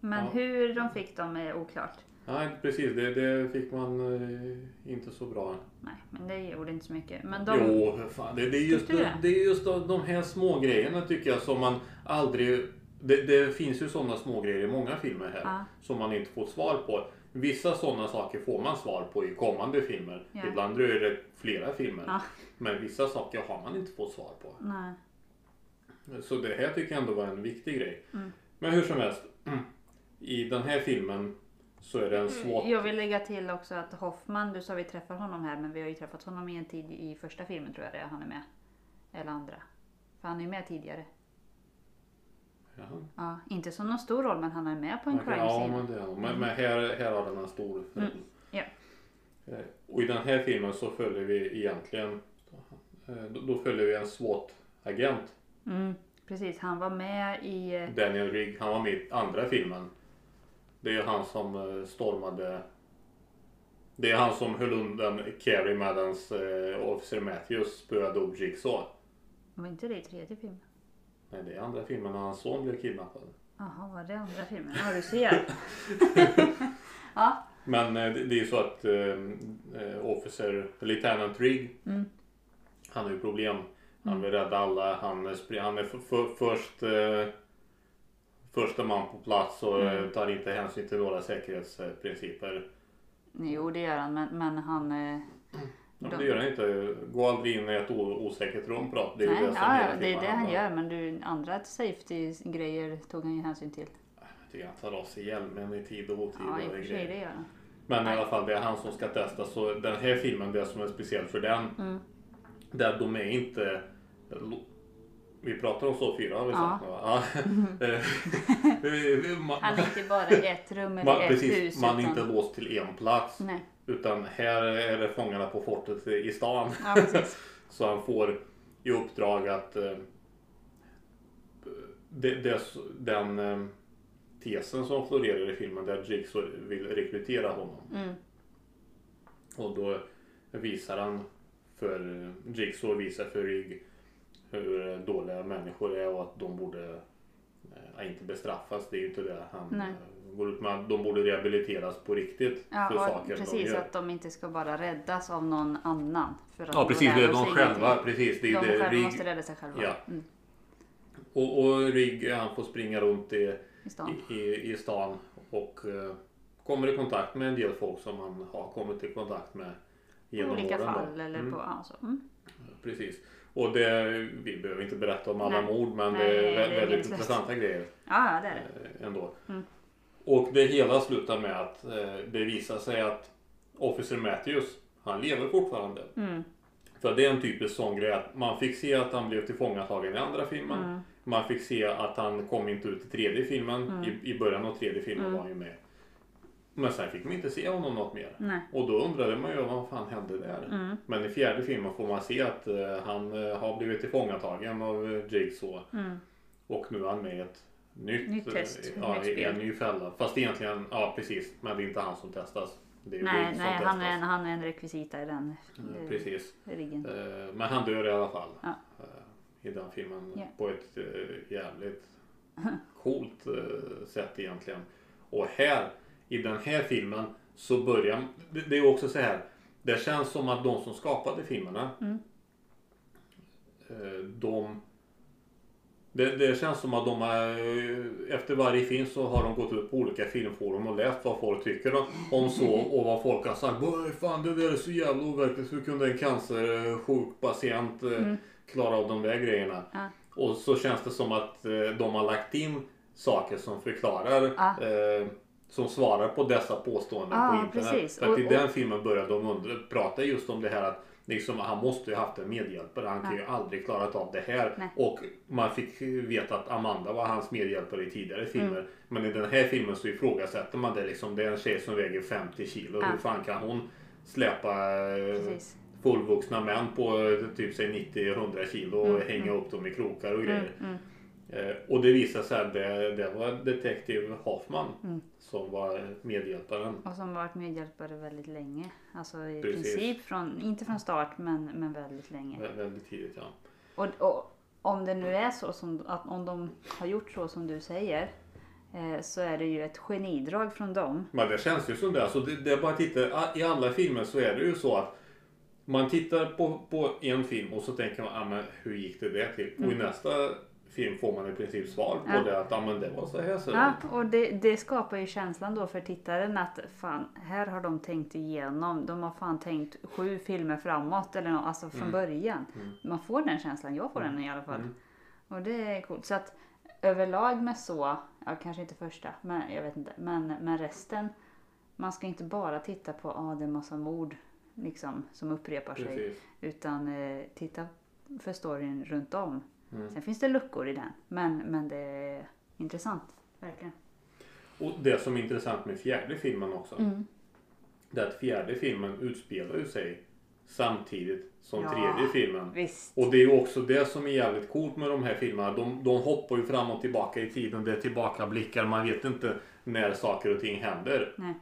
B: Men
A: Ja.
B: hur de fick dem är oklart.
A: Nej, precis. Det, det fick man eh, inte så bra.
B: Nej, men det gjorde inte så mycket. Men de...
A: Jo, för fan. Det, det, är just,
B: Tyckte du
A: det?
B: det?
A: är just de, de här små grejerna tycker jag som man aldrig... Det, det finns ju sådana små grejer i många filmer här
B: Ja.
A: som man inte får svar på. Vissa sådana saker får man svar på i kommande filmer.
B: Ja.
A: Ibland dröjer det flera filmer.
B: Ja.
A: Men vissa saker har man inte fått svar på.
B: Nej.
A: Så det här tycker jag ändå var en viktig grej.
B: Mm.
A: Men hur som helst. I den här filmen så är det en SWAT...
B: Jag vill lägga till också att Hoffman, du sa vi träffar honom här men vi har ju träffat honom i en tid i första filmen tror jag det är han är med. Eller andra. För han är ju med tidigare.
A: Jaha.
B: Ja, inte som någon stor roll men han är med på en
A: Okej,
B: crime
A: Ja,
B: scene.
A: men, det, men, men här, här har den en stor
B: Mm,
A: fördel.
B: ja.
A: Eh, Och i den här filmen så följer vi egentligen, eh, då, då följer vi en SWAT-agent.
B: Mm, precis, han var med i... eh,
A: Daniel Rigg, han var med i andra filmen. Det är ju han som eh, stormade, det är han som höll undan Carrie Maddens eh, Officer Matthews spöade upp Jigsaw.
B: Var inte det i tredje filmen?
A: Nej, det är andra filmen när hans son blev kidnappad.
B: Jaha, var det andra filmen? Ja, du ser. ja,
A: Men eh, det det är ju så att eh, eh, Officer Lieutenant Rigg
B: Mm.
A: Han har ju problem. Han vill rädda alla. Han är, spr- han är f- f- först eh, första man på plats och eh,
B: Mm.
A: tar inte hänsyn till några säkerhetsprinciper.
B: jo det gör han men, men han... eh,
A: Ja,
B: De-
A: men det gör han inte. Gå aldrig in i ett o- osäkert rum prat. Det är ju typ,
B: nej,
A: det som
B: ja,
A: hela
B: ja, det
A: filmen
B: är det han
A: handlar om.
B: gör men du, andra safety-grejer tog han ju hänsyn till.
A: Jag tycker han tar av sig hjälmen i tid och otid.
B: Ja, i och
A: och det
B: för sig
A: grejer.
B: det gör han.
A: Men i alla fall det är han som ska testa så den här filmen, det som är speciellt för den.
B: Mm.
A: Där de är inte... Vi pratar om så fyra har vi
B: Ja.
A: sagt nu, va? ja. Eh, man,
B: Han är inte bara i ett rum eller
A: man,
B: ett
A: precis,
B: hus.
A: man är
B: utan...
A: inte låst till en plats.
B: Nej,
A: Utan här är det Fångarna på fortet i stan.
B: ja precis.
A: Så han får i uppdrag att eh, det, det, den eh, tesen som florerar i filmen där Jigsaw vill rekrytera honom.
B: Mm.
A: Och då visar han för Jigsaw visar för Rigg hur dåliga människor är och att de borde eh, inte bestraffas. Det är ju inte det han
B: Nej.
A: eh, går ut med. Att De borde rehabiliteras på riktigt
B: Ja,
A: för
B: och
A: saker de
B: precis,
A: gör.
B: att de inte ska bara räddas av någon annan. För att
A: Ja precis, det är
B: lär
A: de
B: sig
A: själva.
B: ingenting.
A: Precis, det
B: De
A: är ju det.
B: själva
A: Rigg,
B: måste rädda sig själva.
A: Ja.
B: Mm,
A: och, och Rigg han får springa runt i
B: i stan.
A: i, i, i stan och eh, kommer i kontakt med en del folk som han har kommit i kontakt med
B: I
A: genom
B: olika
A: åren. då.
B: fall. Eller
A: Mm,
B: på, ja, så. Mm.
A: Precis. Och det, vi behöver inte berätta om alla
B: Nej.
A: mord men
B: Nej,
A: det är
B: det är
A: vä- väldigt
B: meningslöst.
A: intressanta grejer
B: Ja, ja, det är det.
A: eh, ändå.
B: Mm.
A: Och det hela slutar med att eh, det visar sig att Officer Matthews, han lever fortfarande.
B: Mm.
A: För det är en typisk sån grej att man fick se att han blev tillfångatagen i andra filmen.
B: Mm.
A: Man fick se att han kom inte ut i tredje filmen.
B: Mm.
A: I, I början av tredje filmen
B: Mm.
A: var han ju med. Men sen fick man inte se honom något mer.
B: Nej.
A: Och då undrade man ju vad fan hände där?
B: Mm.
A: Men i fjärde filmen får man se att eh, han eh, har blivit tillfångatagen av eh, Jigsaw.
B: Mm.
A: Och nu är han med i ett nytt,
B: Nytt test,
A: eh, ja,
B: nytt
A: i
B: spel.
A: en ny fälla. Fast egentligen, ja precis. Men det är inte han som testas. Det är Rigg
B: Nej,
A: som
B: nej
A: testas.
B: han, är en, han är en rekvisita i den
A: Eh,
B: eh,
A: Precis.
B: riggen.
A: Eh, Men han dör i alla fall.
B: Ja.
A: eh, I den filmen.
B: Ja.
A: På ett eh, jävligt coolt eh, sätt egentligen. Och här, i den här filmen, så börjar... det- Det är också så här. Det känns som att de som skapade filmerna.
B: Mm.
A: eh, De... Det, det känns som att de har, eh, efter varje film så har de gått ut på olika filmforum och läst vad folk tycker om- om så och vad folk har sagt. "Oj, Fan det där är så jävla overkligt. Hur kunde en cancersjuk patient eh, klara av de där grejerna?
B: Ja.
A: Och så känns det som att eh, de har lagt in saker som förklarar,
B: Ja.
A: eh, som svarar på dessa påståenden
B: Ja,
A: på internet.
B: Ah, precis.
A: För att i
B: Och- och-
A: den filmen började de undra, prata just om det här att liksom, han måste ju haft en medhjälpare. Han kan ju aldrig klarat av det här.
B: Ah. Nej.
A: Och man fick veta att Amanda var hans medhjälpare i
B: Mm.
A: tidigare filmer. Men i den här filmen så ifrågasätter man det. Liksom, det är en tjej som väger 50 kilo.
B: Ja.
A: Hur fan kan hon släpa eh,
B: Ah. Precis.
A: fullvuxna män på eh, typ säg 90-100 kilo och hänga upp dem i krokar och grejer.
B: Mm.
A: Eh, och det visar sig att det, det var detektiv Hoffman
B: Mm.
A: som var medhjälparen.
B: Och som varit medhjälpare väldigt länge. Alltså i
A: Precis.
B: princip från, inte från start men, men väldigt länge.
A: Vä- Väldigt tidigt ja.
B: Och, och om det nu är så som, att om de har gjort så som du säger. Eh, så är det ju ett genidrag från dem.
A: Men det känns ju som det. Alltså det, det är bara att titta, a- I alla filmer så är det ju så att man tittar på, på en film och så tänker man ah, men hur gick det där till? Och i nästa film får man i princip svar på
B: Mm. Ja.
A: det att ah, men det var så här. Så
B: Ja, och det, det skapar ju känslan då för tittaren att fan, här har de tänkt igenom. De har fan tänkt sju filmer framåt eller nå, alltså från början. Man får den känslan, jag får den i alla fall. Och det är coolt. Så att överlag med så, ja, kanske inte första, men jag vet inte, men, men resten. Man ska inte bara titta på, ah, det är massa mord liksom, som upprepar sig.
A: Precis.
B: Utan eh, titta för storyn runt om. Sen finns det luckor i den, men, men det är intressant. Verkligen.
A: Och det som är intressant med fjärde filmen också.
B: Mm.
A: Det är att fjärde filmen utspelar ju sig samtidigt som
B: Ja.
A: tredje filmen.
B: Visst.
A: Och det är ju också det som är jävligt coolt med de här filmerna. De, de hoppar ju fram och tillbaka i tiden. Det är tillbakablickar. Man vet inte när saker och ting händer.
B: Nej.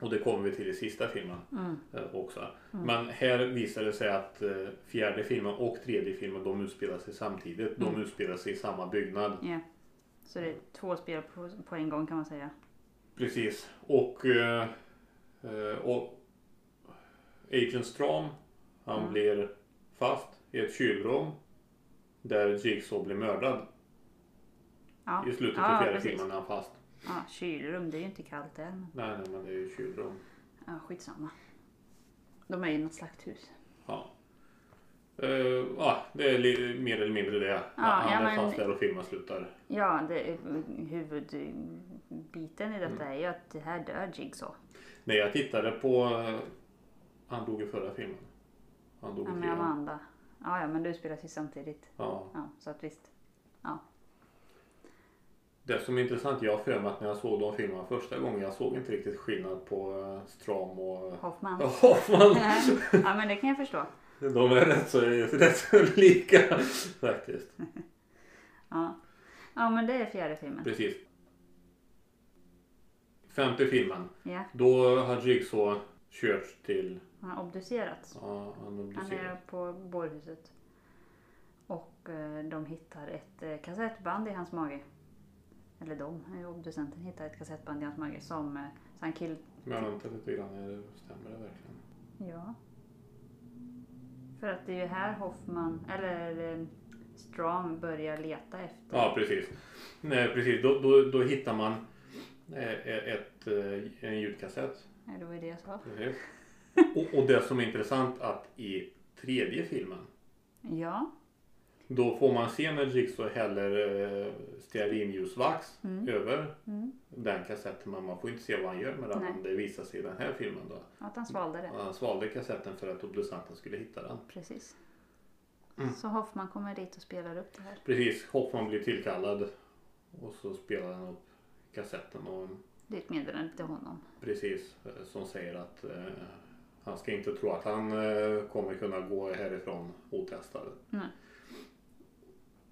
A: Och det kommer vi till i sista filmen
B: Mm.
A: eh, också. Men här visar det sig att eh, fjärde filmen och tredje filmen de utspelar sig samtidigt. De
B: Mm.
A: utspelar sig i samma byggnad.
B: Ja. Så det är två spel på, på en gång kan man säga.
A: Precis. Och, eh, eh, och Agent Stram, han
B: Mm.
A: blir fast i ett kylrum där Jigsaw blir mördad
B: Ja.
A: i slutet
B: ja,
A: av fjärde
B: precis.
A: filmen. Är han fast.
B: Ja, kylrum, det är ju inte kallt där. Men...
A: Nej, nej, men det är ju kylrum.
B: Ja, skitsamma. De är ju i något slakthus.
A: Ja. Eh, ah, det är li- mer eller mindre det. han
B: ja,
A: är
B: men-
A: fast där och filmen slutar.
B: Ja, det, eh, huvudbiten i detta är ju att det här dör Jigsaw.
A: Nej, jag tittade på... eh, Han dog i förra filmen. Han dog
B: Ja,
A: i
B: med
A: trean.
B: Amanda. Ja, ja, men du spelas ju samtidigt.
A: Ja.
B: Ja, så att visst.
A: Det som är intressant, jag har för mig att när jag såg de filmerna första gången, jag såg inte riktigt skillnad på eh, Stram och
B: Hoffman.
A: Ja, Hoffman.
B: ja, men det kan jag förstå.
A: De är rätt så, rätt så lika faktiskt.
B: Ja. Ja men det är fjärde filmen.
A: Precis. Femte filmen.
B: Ja,
A: Då har Jigsaw körts till...
B: han har obducerats.
A: Ja, han
B: Han
A: obducerar.
B: är på bårhuset. Och eh, de hittar ett eh, kassettband i hans mage. Eller de, eh, obducenten hittar ett kassettband i hans mage som eh, så han kill...
A: Men vänta lite grann, är det- stämmer det verkligen?
B: Ja. För att det är ju här Hoffman, eller eh, Strong börjar leta efter.
A: Ja, precis. Nej, precis. Då, då, då hittar man eh, ett, eh, en ljudkassett.
B: Ja, det var ju det jag sa.
A: Precis. Och, och det som är intressant att i tredje filmen
B: Ja.
A: då får man se när Jigsaw häller eh, stearinljusvax
B: Mm.
A: över
B: Mm.
A: den kassetten. Men man får inte se vad han gör med den.
B: Nej.
A: Men det visar sig i den här filmen då.
B: Att han svalde det.
A: Han svalde kassetten för att obducenten skulle hitta den.
B: Precis.
A: Mm.
B: Så Hoffman kommer dit och spelar upp det här.
A: Precis, Hoffman blir tillkallad och så spelar han upp kassetten. Och
B: Det är ett meddelande till honom.
A: Precis, eh, som säger att eh, han ska inte tro att han eh, kommer kunna gå härifrån otestad.
B: Nej.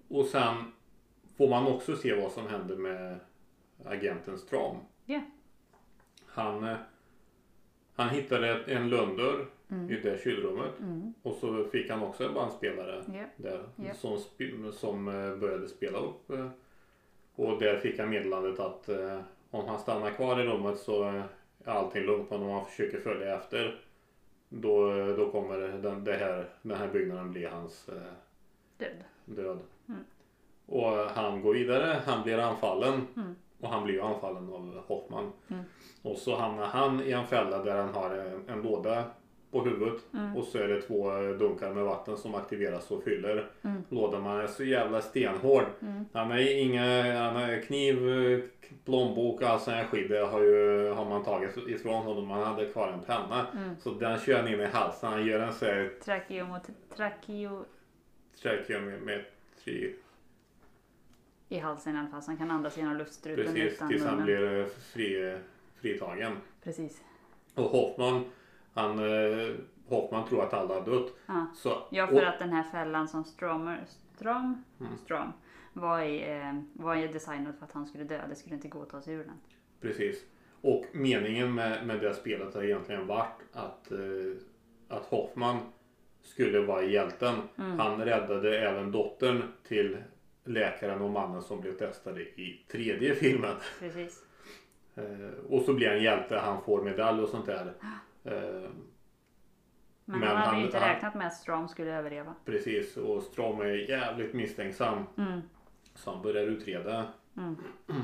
A: Och sen får man också se vad som hände med agenten Stram.
B: Ja.
A: Han, eh, han hittade ett- en lönndörr
B: Mm.
A: i det kylrummet
B: Mm.
A: och så fick han också en bandspelare
B: Ja.
A: där
B: Ja.
A: som, sp- som eh, började spela upp. eh, Och där fick han meddelandet att eh, om han stannar kvar i rummet så eh, är allting lugnt. Men om han försöker följa efter då, eh, då kommer den, det här, den här byggnaden bli hans eh,
B: Död.
A: död.
B: Mm.
A: Och eh, han går vidare, han blir anfallen.
B: Mm.
A: Och han blir ju anfallen av Hoffman.
B: Mm.
A: Och så hamnar han i en fälla där han har en, en låda på huvudet.
B: Mm.
A: Och så är det två eh, dunkar med vatten som aktiveras och fyller
B: Mm.
A: lådan. Man är så jävla stenhård.
B: Mm.
A: Han har inga han har kniv, eh, k- plånbok och allt sånt här skit. Det har, ju, har man tagit ifrån honom. Han hade kvar en penna.
B: Mm.
A: Så den kör han in i halsen. Han gör en sån här
B: Trakeomo... Trakeo...
A: tracheometri
B: I halsen i alla fall, så han kan andas genom luftstrupen
A: precis
B: utan
A: tills han
B: munnen.
A: blir eh, fri, fritagen.
B: Precis.
A: Och Hoffman, han, eh, Hoffman tror att alla har dött.
B: Ja.
A: Så,
B: Ja,
A: och-
B: för att den här fällan som Stromer... Strom?
A: Mm.
B: Strom var, i, eh, var ju designad för att han skulle dö. Det skulle inte gå att ta sig ur den.
A: Precis. Och meningen med, med det spelet har egentligen varit att, eh, att Hoffman skulle vara hjälten.
B: Mm.
A: Han räddade även dottern till läkaren och mannen som blev testade i tredje filmen.
B: Precis.
A: Eh, och så blir han hjälte, han får medalj och sånt där.
B: Ah.
A: Eh,
B: Men,
A: Men
B: han hade
A: han-
B: ju inte
A: han-
B: räknat med att Strom skulle överleva.
A: precis, och Strom är jävligt misstänksam.
B: Mm.
A: Så han börjar utreda.
B: Han,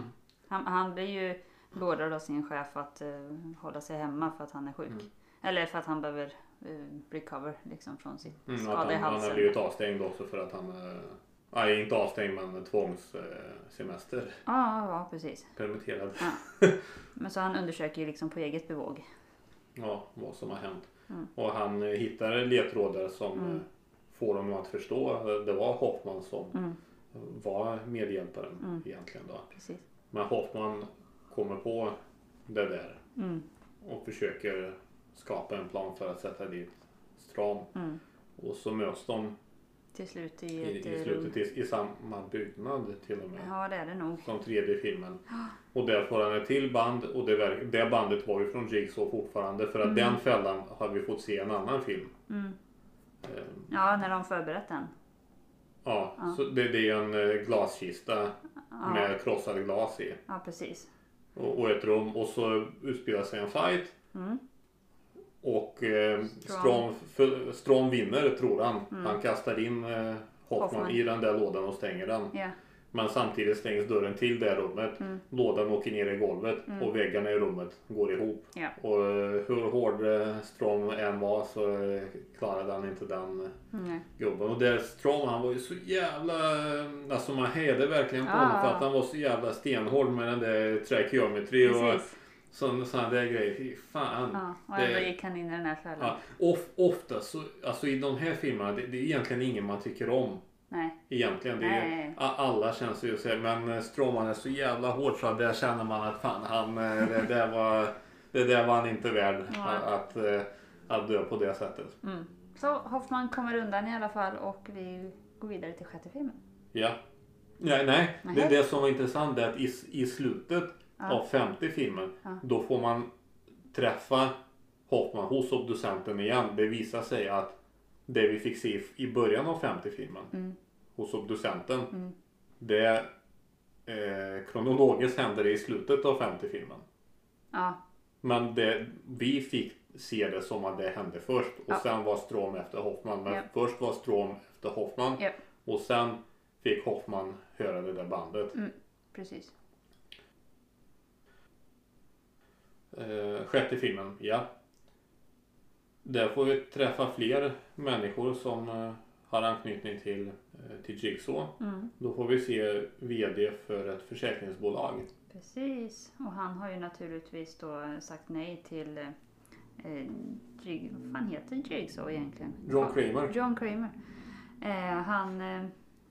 B: han blir ju beordrad av sin chef att eh, hålla sig hemma för att han är sjuk.
A: Mm.
B: Eller för att han behöver eh, recover liksom, från sin
A: Mm, att
B: skada i
A: han, han har
B: halsen.
A: blivit avstängd också för att han... Eh, nej, inte avstängd men tvångssemester. Eh, semester.
B: Ja, ja, precis.
A: Permitterad.
B: Men så han undersöker ju liksom på eget bevåg.
A: ja, vad som har hänt.
B: Mm.
A: Och han eh, hittar ledtrådar som
B: Mm.
A: eh, får honom att förstå. eh, Det var Hoffman som
B: Mm.
A: var medhjälparen
B: Mm.
A: egentligen. Då.
B: Precis.
A: Men Hoffman kommer på det där
B: Mm,
A: och försöker skapa en plan för att sätta dit Stram.
B: mm.
A: Och så möts de
B: Till slut i,
A: i,
B: ett
A: i
B: eh,
A: slutet i, i samma byggnad till och med.
B: rum. Ja, det är det nog.
A: Som tredje filmen. Och där får han ett till band och det, verk- det bandet var ju från Jigsaw fortfarande för att
B: Mm.
A: den fällan har vi fått se i en annan film.
B: Mm.
A: Eh,
B: Ja, när de förberett den.
A: Ja,
B: Ja.
A: Så det, det är ju en eh, glaskista
B: Ja,
A: med krossade glas i.
B: ja precis.
A: Och, och ett rum och så utspelar sig en fight.
B: Mm.
A: Och eh,
B: Strong.
A: Strom, för, Strom vinner tror han.
B: Mm.
A: Han kastar in eh, Hoffman,
B: Hoffman.
A: i den där lådan och stänger den.
B: Ja,
A: Men samtidigt stängs dörren till det här rummet.
B: Mm.
A: Lådan åker ner i golvet
B: Mm.
A: och väggarna i rummet går ihop.
B: Ja.
A: Och eh, hur hård eh, Strom än var så eh, klarade han inte den eh,
B: nej.
A: gubben. Och där Strom han var ju så jävla... Alltså man hejade verkligen på
B: Ja.
A: honom för att han var så jävla stenhård med den där tracheometry och
B: precis. Ah.
A: sådana sån där grejer. Fy fan.
B: Ja, och
A: det-
B: ändå gick han in i den här fällan.
A: Ja, of, ofta så, alltså i de här filmerna, det, det är egentligen ingen man tycker om.
B: Nej,
A: Egentligen. Det är,
B: Nej.
A: a- alla känns ju så här, men eh, Strom han är så jävla hård så att där känner man att fan han, eh, det där var, det där var han inte värd
B: Ja.
A: att, att, eh, att dö på det sättet.
B: mm. Så Hoffman kommer undan i alla fall och vi går vidare till sjätte filmen.
A: Ja. Nej, nej.
B: Nej.
A: Det, det som var intressant är att i, i slutet
B: Ja.
A: av femte filmen
B: Ja.
A: då får man träffa Hoffman hos obducenten igen. Det visar sig att det vi fick se i- i början av femte filmen
B: Mm.
A: hos obducenten
B: Mm.
A: det eh, kronologiskt händer det i slutet av femte filmen.
B: Ja,
A: Men det, vi fick se det som att det hände först och
B: Ja.
A: sen var Strom efter Hoffman. Men
B: Ja.
A: först var Strom efter Hoffman
B: Ja.
A: och sen fick Hoffman höra det där bandet.
B: precis.
A: Eh, sjätte filmen, ja. Där får vi träffa fler människor som eh, har anknytning till, eh, till Jigsaw.
B: Mm.
A: Då får vi se VD för ett försäkringsbolag.
B: Precis. Och han har ju naturligtvis då sagt nej till... Eh, Jig, vad fan heter Jigsaw egentligen?
A: John Kramer.
B: John Kramer. Eh, han, eh,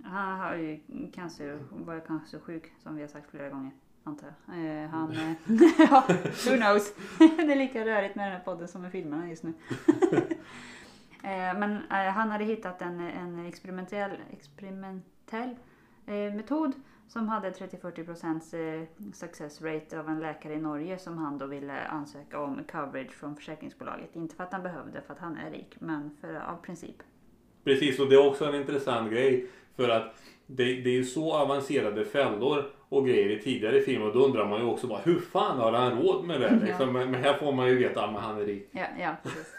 B: han har ju cancer, var cancersjuk som vi har sagt flera gånger. Antar jag. Eh, han, eh, ja, who knows. det är lika rörigt med den här podden som med filmerna just nu. eh, men eh, han hade hittat en, en experimentell, experimentell eh, metod som hade 30-40% eh, success rate av en läkare i Norge som han då ville ansöka om coverage från försäkringsbolaget. Inte för att han behövde för att han är rik, men för, av princip.
A: Precis, och det är också en intressant grej. För att det, det är ju så avancerade fällor och grejer i tidigare filmer. Och då undrar man ju också bara, hur fan har han råd med det?
B: Ja.
A: Liksom, men, men här får man ju veta att han är rik.
B: Ja, ja precis.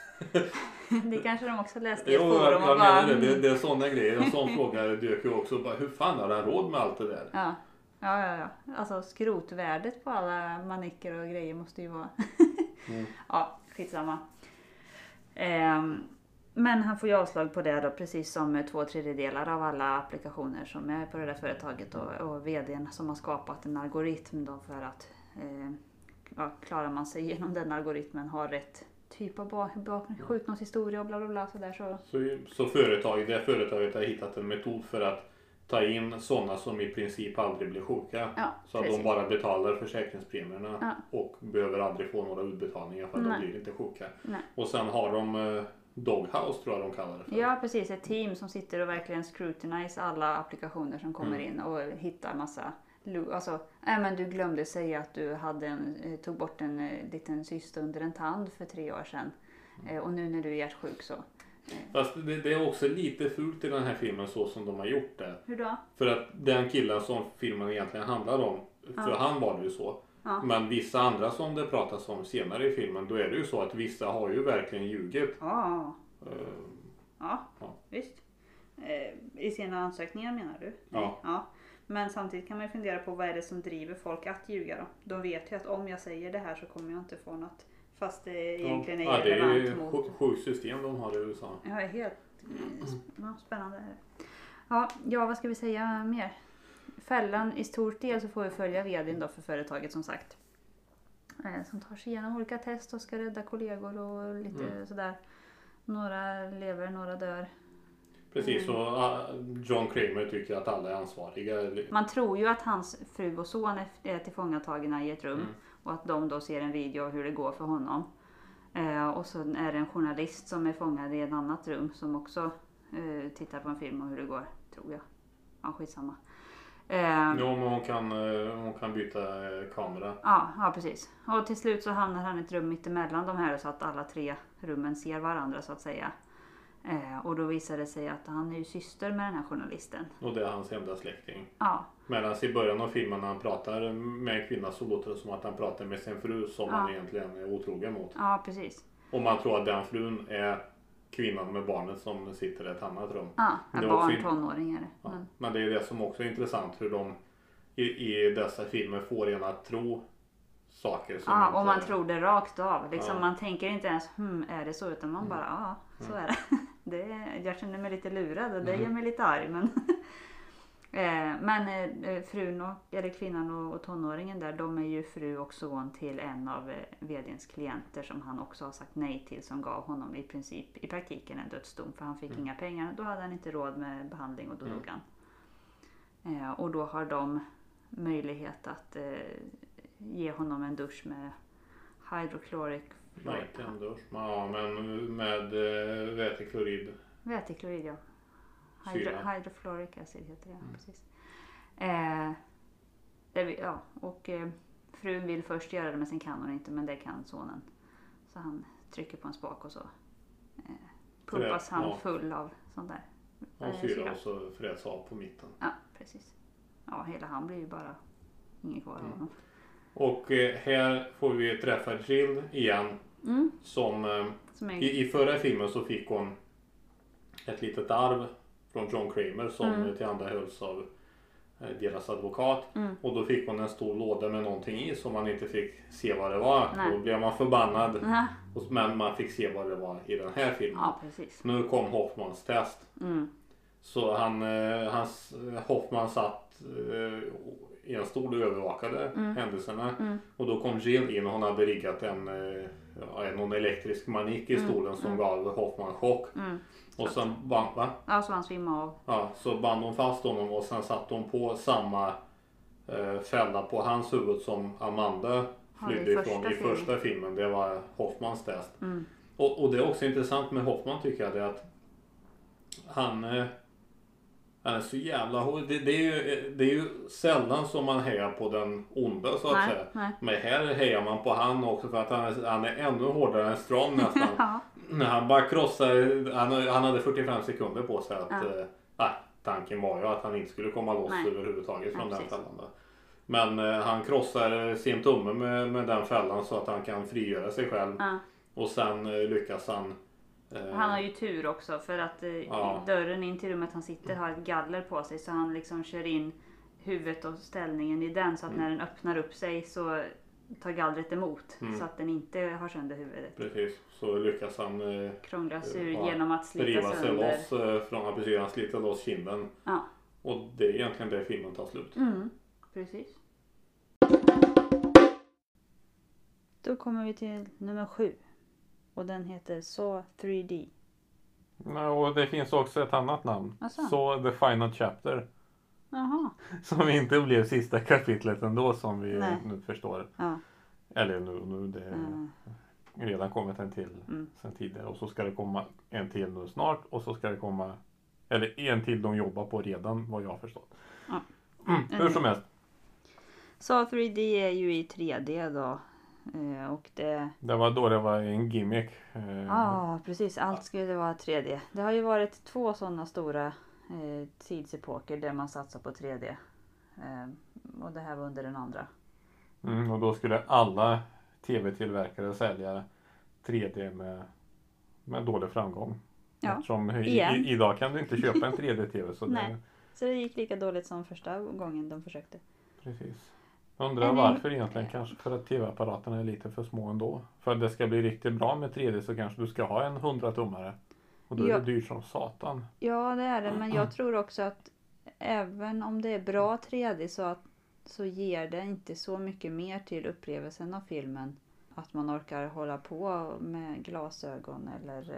B: det kanske de också läste i
A: Jo,
B: ett
A: jag,
B: forum och
A: jag
B: bara... mm.
A: menar det. Det, det är sådana grejer. En sån fråga dök ju också. Bara, hur fan har han råd med allt det där?
B: Ja. Ja, ja, ja. Alltså skrotvärdet på alla manicker och grejer måste ju vara...
A: Mm.
B: Ja, skitsamma. Ehm, men han får ju avslag på det då, precis som eh, två tredjedelar av alla applikationer som är på det där företaget och, och VDn som har skapat en algoritm då för att eh, ja, klarar man sig genom den algoritmen, har rätt typ av bak- bak- sjukdomshistoria och bla bla bla sådär så
A: Så, så företag, det företaget har hittat en metod för att ta in sådana som i princip aldrig blir sjuka.
B: Ja,
A: Så att de
B: precis.
A: bara betalar försäkringspremierna
B: Ja.
A: och behöver aldrig få några utbetalningar för att
B: Nej.
A: de blir inte sjuka.
B: Nej.
A: Och sen har de eh, Doghouse tror jag de kallar det för.
B: Ja precis, ett team som sitter och verkligen scrutinize alla applikationer som kommer
A: Mm.
B: in och hittar massa lu- Alltså, nej men du glömde säga att du hade en, eh, tog bort en eh, liten cysta under en tand för tre år sedan.
A: Mm.
B: Eh, och nu när du är hjärtsjuk så.
A: Fast det, det är också lite fult i den här filmen så som de har gjort det.
B: Hur då?
A: För att den killen som filmen egentligen handlar om, för han var det ju så.
B: Ja.
A: Men vissa andra som det pratas om senare i filmen, då är det ju så att vissa har ju verkligen ljugit.
B: Ja,
A: Eh,
B: ja,
A: Ja.
B: visst. Eh, I sina ansökningar menar du?
A: Ja.
B: ja. Men samtidigt kan man ju fundera på vad är det som driver folk att ljuga då? De vet ju att om jag säger det här så kommer jag inte få något. Fast det egentligen är
A: ja, det är
B: relevant
A: ju
B: mot...
A: sj- sjukt system de har i USA.
B: Ja, det är helt ja, spännande. Här. Ja, ja, vad ska vi säga mer? Fällan i stort del så får vi följa vdn då för företaget som sagt. Eh, Som tar sig igenom olika test och ska rädda kollegor och lite
A: Mm.
B: sådär. Några lever, några dör.
A: Precis,
B: Mm.
A: och ah, John Kramer tycker att alla är ansvariga. eller-
B: Man tror ju att hans fru och son är- är tillfångatagna i ett rum
A: Mm.
B: och att de då ser en video av hur det går för honom. Eh, och så är det en journalist som är fångad i ett annat rum som också eh, tittar på en film om hur det går, tror jag. Ja, skitsamma. Eh,
A: Ja, men hon kan, eh, hon kan byta eh, kamera.
B: ja, ja, precis. Och till slut så hamnar han i ett rum mittemellan de här så att alla tre rummen ser varandra så att säga. Eh, och då visar det sig att han är ju syster med den här journalisten.
A: Och det är hans enda släkting.
B: Ja,
A: Medan i början av filmen när han pratar med en kvinna så låter det som att han pratar med sin fru som
B: Ja.
A: han egentligen är otrogen mot.
B: ja precis.
A: Och man tror att den frun är kvinnan med barnet som sitter i ett annat rum.
B: Ja,
A: Det var
B: barn,
A: film.
B: tonåringar.
A: Ja.
B: Men,
A: Men det är det som också är intressant hur de i, i dessa filmer får en att tro saker som
B: ja,
A: inte-
B: och man tror det rakt av. Liksom,
A: Ja.
B: Man tänker inte ens hmm, är det så? Utan man bara ja, så är det. det. är- Jag känner mig lite lurad och det gör mig lite arg. Men, eh, men eh, frun, och, eller kvinnan och, och tonåringen där, de är ju fru och son till en av eh, VDns klienter som han också har sagt nej till som gav honom i princip, i praktiken en dödsdom för han fick inga pengar. Då hade han inte råd med behandling och då dog han. Eh, och då har de möjlighet att eh, ge honom en dusch med hydrochloric
A: Nej, inte en dusch. Ja, men med eh, väteklorid.
B: väteklorid. Ja. Hydro,
A: Syra. Mm.
B: hydrofluoric acid heter det. ja, Precis. Eh, där vi, ja, och eh, frun vill först göra det men sen kan hon inte men det kan sonen. Så han trycker på en spak och så eh, pumpas
A: För det-
B: han
A: ja.
B: full av sånt där.
A: Han
B: Eh,
A: syra
B: syra.
A: och så fräts av på mitten.
B: Ja, precis. Ja, hela han blir ju bara ingen kvar av
A: Mm.
B: honom.
A: Och eh, här får vi träffa Jill igen.
B: Mm,
A: Som eh,
B: som är,
A: i, i förra filmen så fick hon ett litet arv från John Kramer som mm. tillhandahölls av eh, deras advokat.
B: Mm.
A: Och då fick hon en stor låda med någonting i som man inte fick se vad det var.
B: Nej.
A: Då blev man förbannad.
B: Nä,
A: Och- Men man fick se vad det var i den här filmen.
B: ja, precis.
A: Nu kom Hoffmans test.
B: Mm,
A: Så han, eh, hans, Hoffman satt eh, i en stol och övervakade händelserna.
B: Mm.
A: Och då kom Jill in och hon hade riggat en, eh, ja, en- någon elektrisk manik i stolen som gav Hoffman chock.
B: mm.
A: Och sen band, va?
B: Ja, så han svimmar av.
A: Ja, så band hon fast honom och sen satte hon på samma eh, fälla på hans huvud som Amanda
B: Ja, i
A: flydde ifrån
B: första
A: i
B: filmen.
A: första filmen. Det var Hoffmans test.
B: Mm.
A: Och, och det är också intressant med Hoffman tycker jag det är att han, eh, han är så jävla hård. Det, det, är ju, det är ju sällan som man hejar på den onda så att
B: Nej,
A: säga.
B: nej.
A: Men här hejar man på han också för att han är, han är ännu hårdare än Strong nästan.
B: Ja,
A: När han bara krossar, han, han hade 45 sekunder på sig att,
B: Ja.
A: eh, nej, tanken var ju att han inte skulle komma loss
B: Nej.
A: överhuvudtaget från
B: Nej,
A: den
B: precis.
A: fällan. Där. Men eh, han krossar eh, sin tumme med, med den fällan så att han kan frigöra sig själv.
B: ja.
A: Och sen eh, lyckas han... Eh,
B: Han har ju tur också för att eh, i
A: Ja.
B: dörren in till rummet han sitter har ett galler på sig så han liksom kör in huvudet och ställningen i den så att
A: Mm.
B: när den öppnar upp sig så tar gallret emot
A: Mm.
B: så att den inte har sönder huvudet.
A: Precis, så lyckas han eh,
B: Krånglas ur
A: Ja.
B: genom att slita
A: riva sig
B: sönder.
A: loss eh, från... ja, Precis, han sliter loss kinden.
B: Ja,
A: Och det är egentligen där filmen tar slut.
B: mm, precis. Då kommer vi till nummer sju. Och den heter Saw 3D.
A: och det finns också ett annat namn.
B: Asså?
A: Så The Final Chapter.
B: Jaha.
A: Som inte blev sista kapitlet ändå som vi
B: Nej.
A: nu förstår.
B: Ja.
A: Eller nu, nu det är
B: Mm.
A: redan kommit en till
B: Mm.
A: sen tidigare. Och så ska det komma en till nu snart. Och så ska det komma... Eller en till de jobbar på redan vad jag har förstått.
B: Ja.
A: Mm, hur som helst.
B: Saw 3D är ju i 3D då. Eh, Och det...
A: Det var då det var en gimmick. eh,
B: Ja, precis. Allt skulle vara 3D. Det har ju varit två sådana stora eh, tidsepoker där man satsar på 3D. Eh, och det här var under den andra.
A: Mm, och då skulle alla tv-tillverkare sälja 3D med, med dålig framgång.
B: Ja,
A: Eftersom i,
B: igen.
A: i, idag kan du inte köpa en 3D-tv. Så
B: Nej.
A: det,
B: Så det gick lika dåligt som första gången de försökte.
A: precis. Jag Undrar
B: Men det-
A: varför egentligen. Kanske för att tv-apparaterna är lite för små ändå. För att det ska bli riktigt bra med 3D så kanske du ska ha en 100-tummare. Och då är
B: Ja.
A: det dyrt som satan.
B: Ja, det är det. Men jag tror också att även om det är bra 3D så, att, så ger det inte så mycket mer till upplevelsen av filmen. Att man orkar hålla på med glasögon eller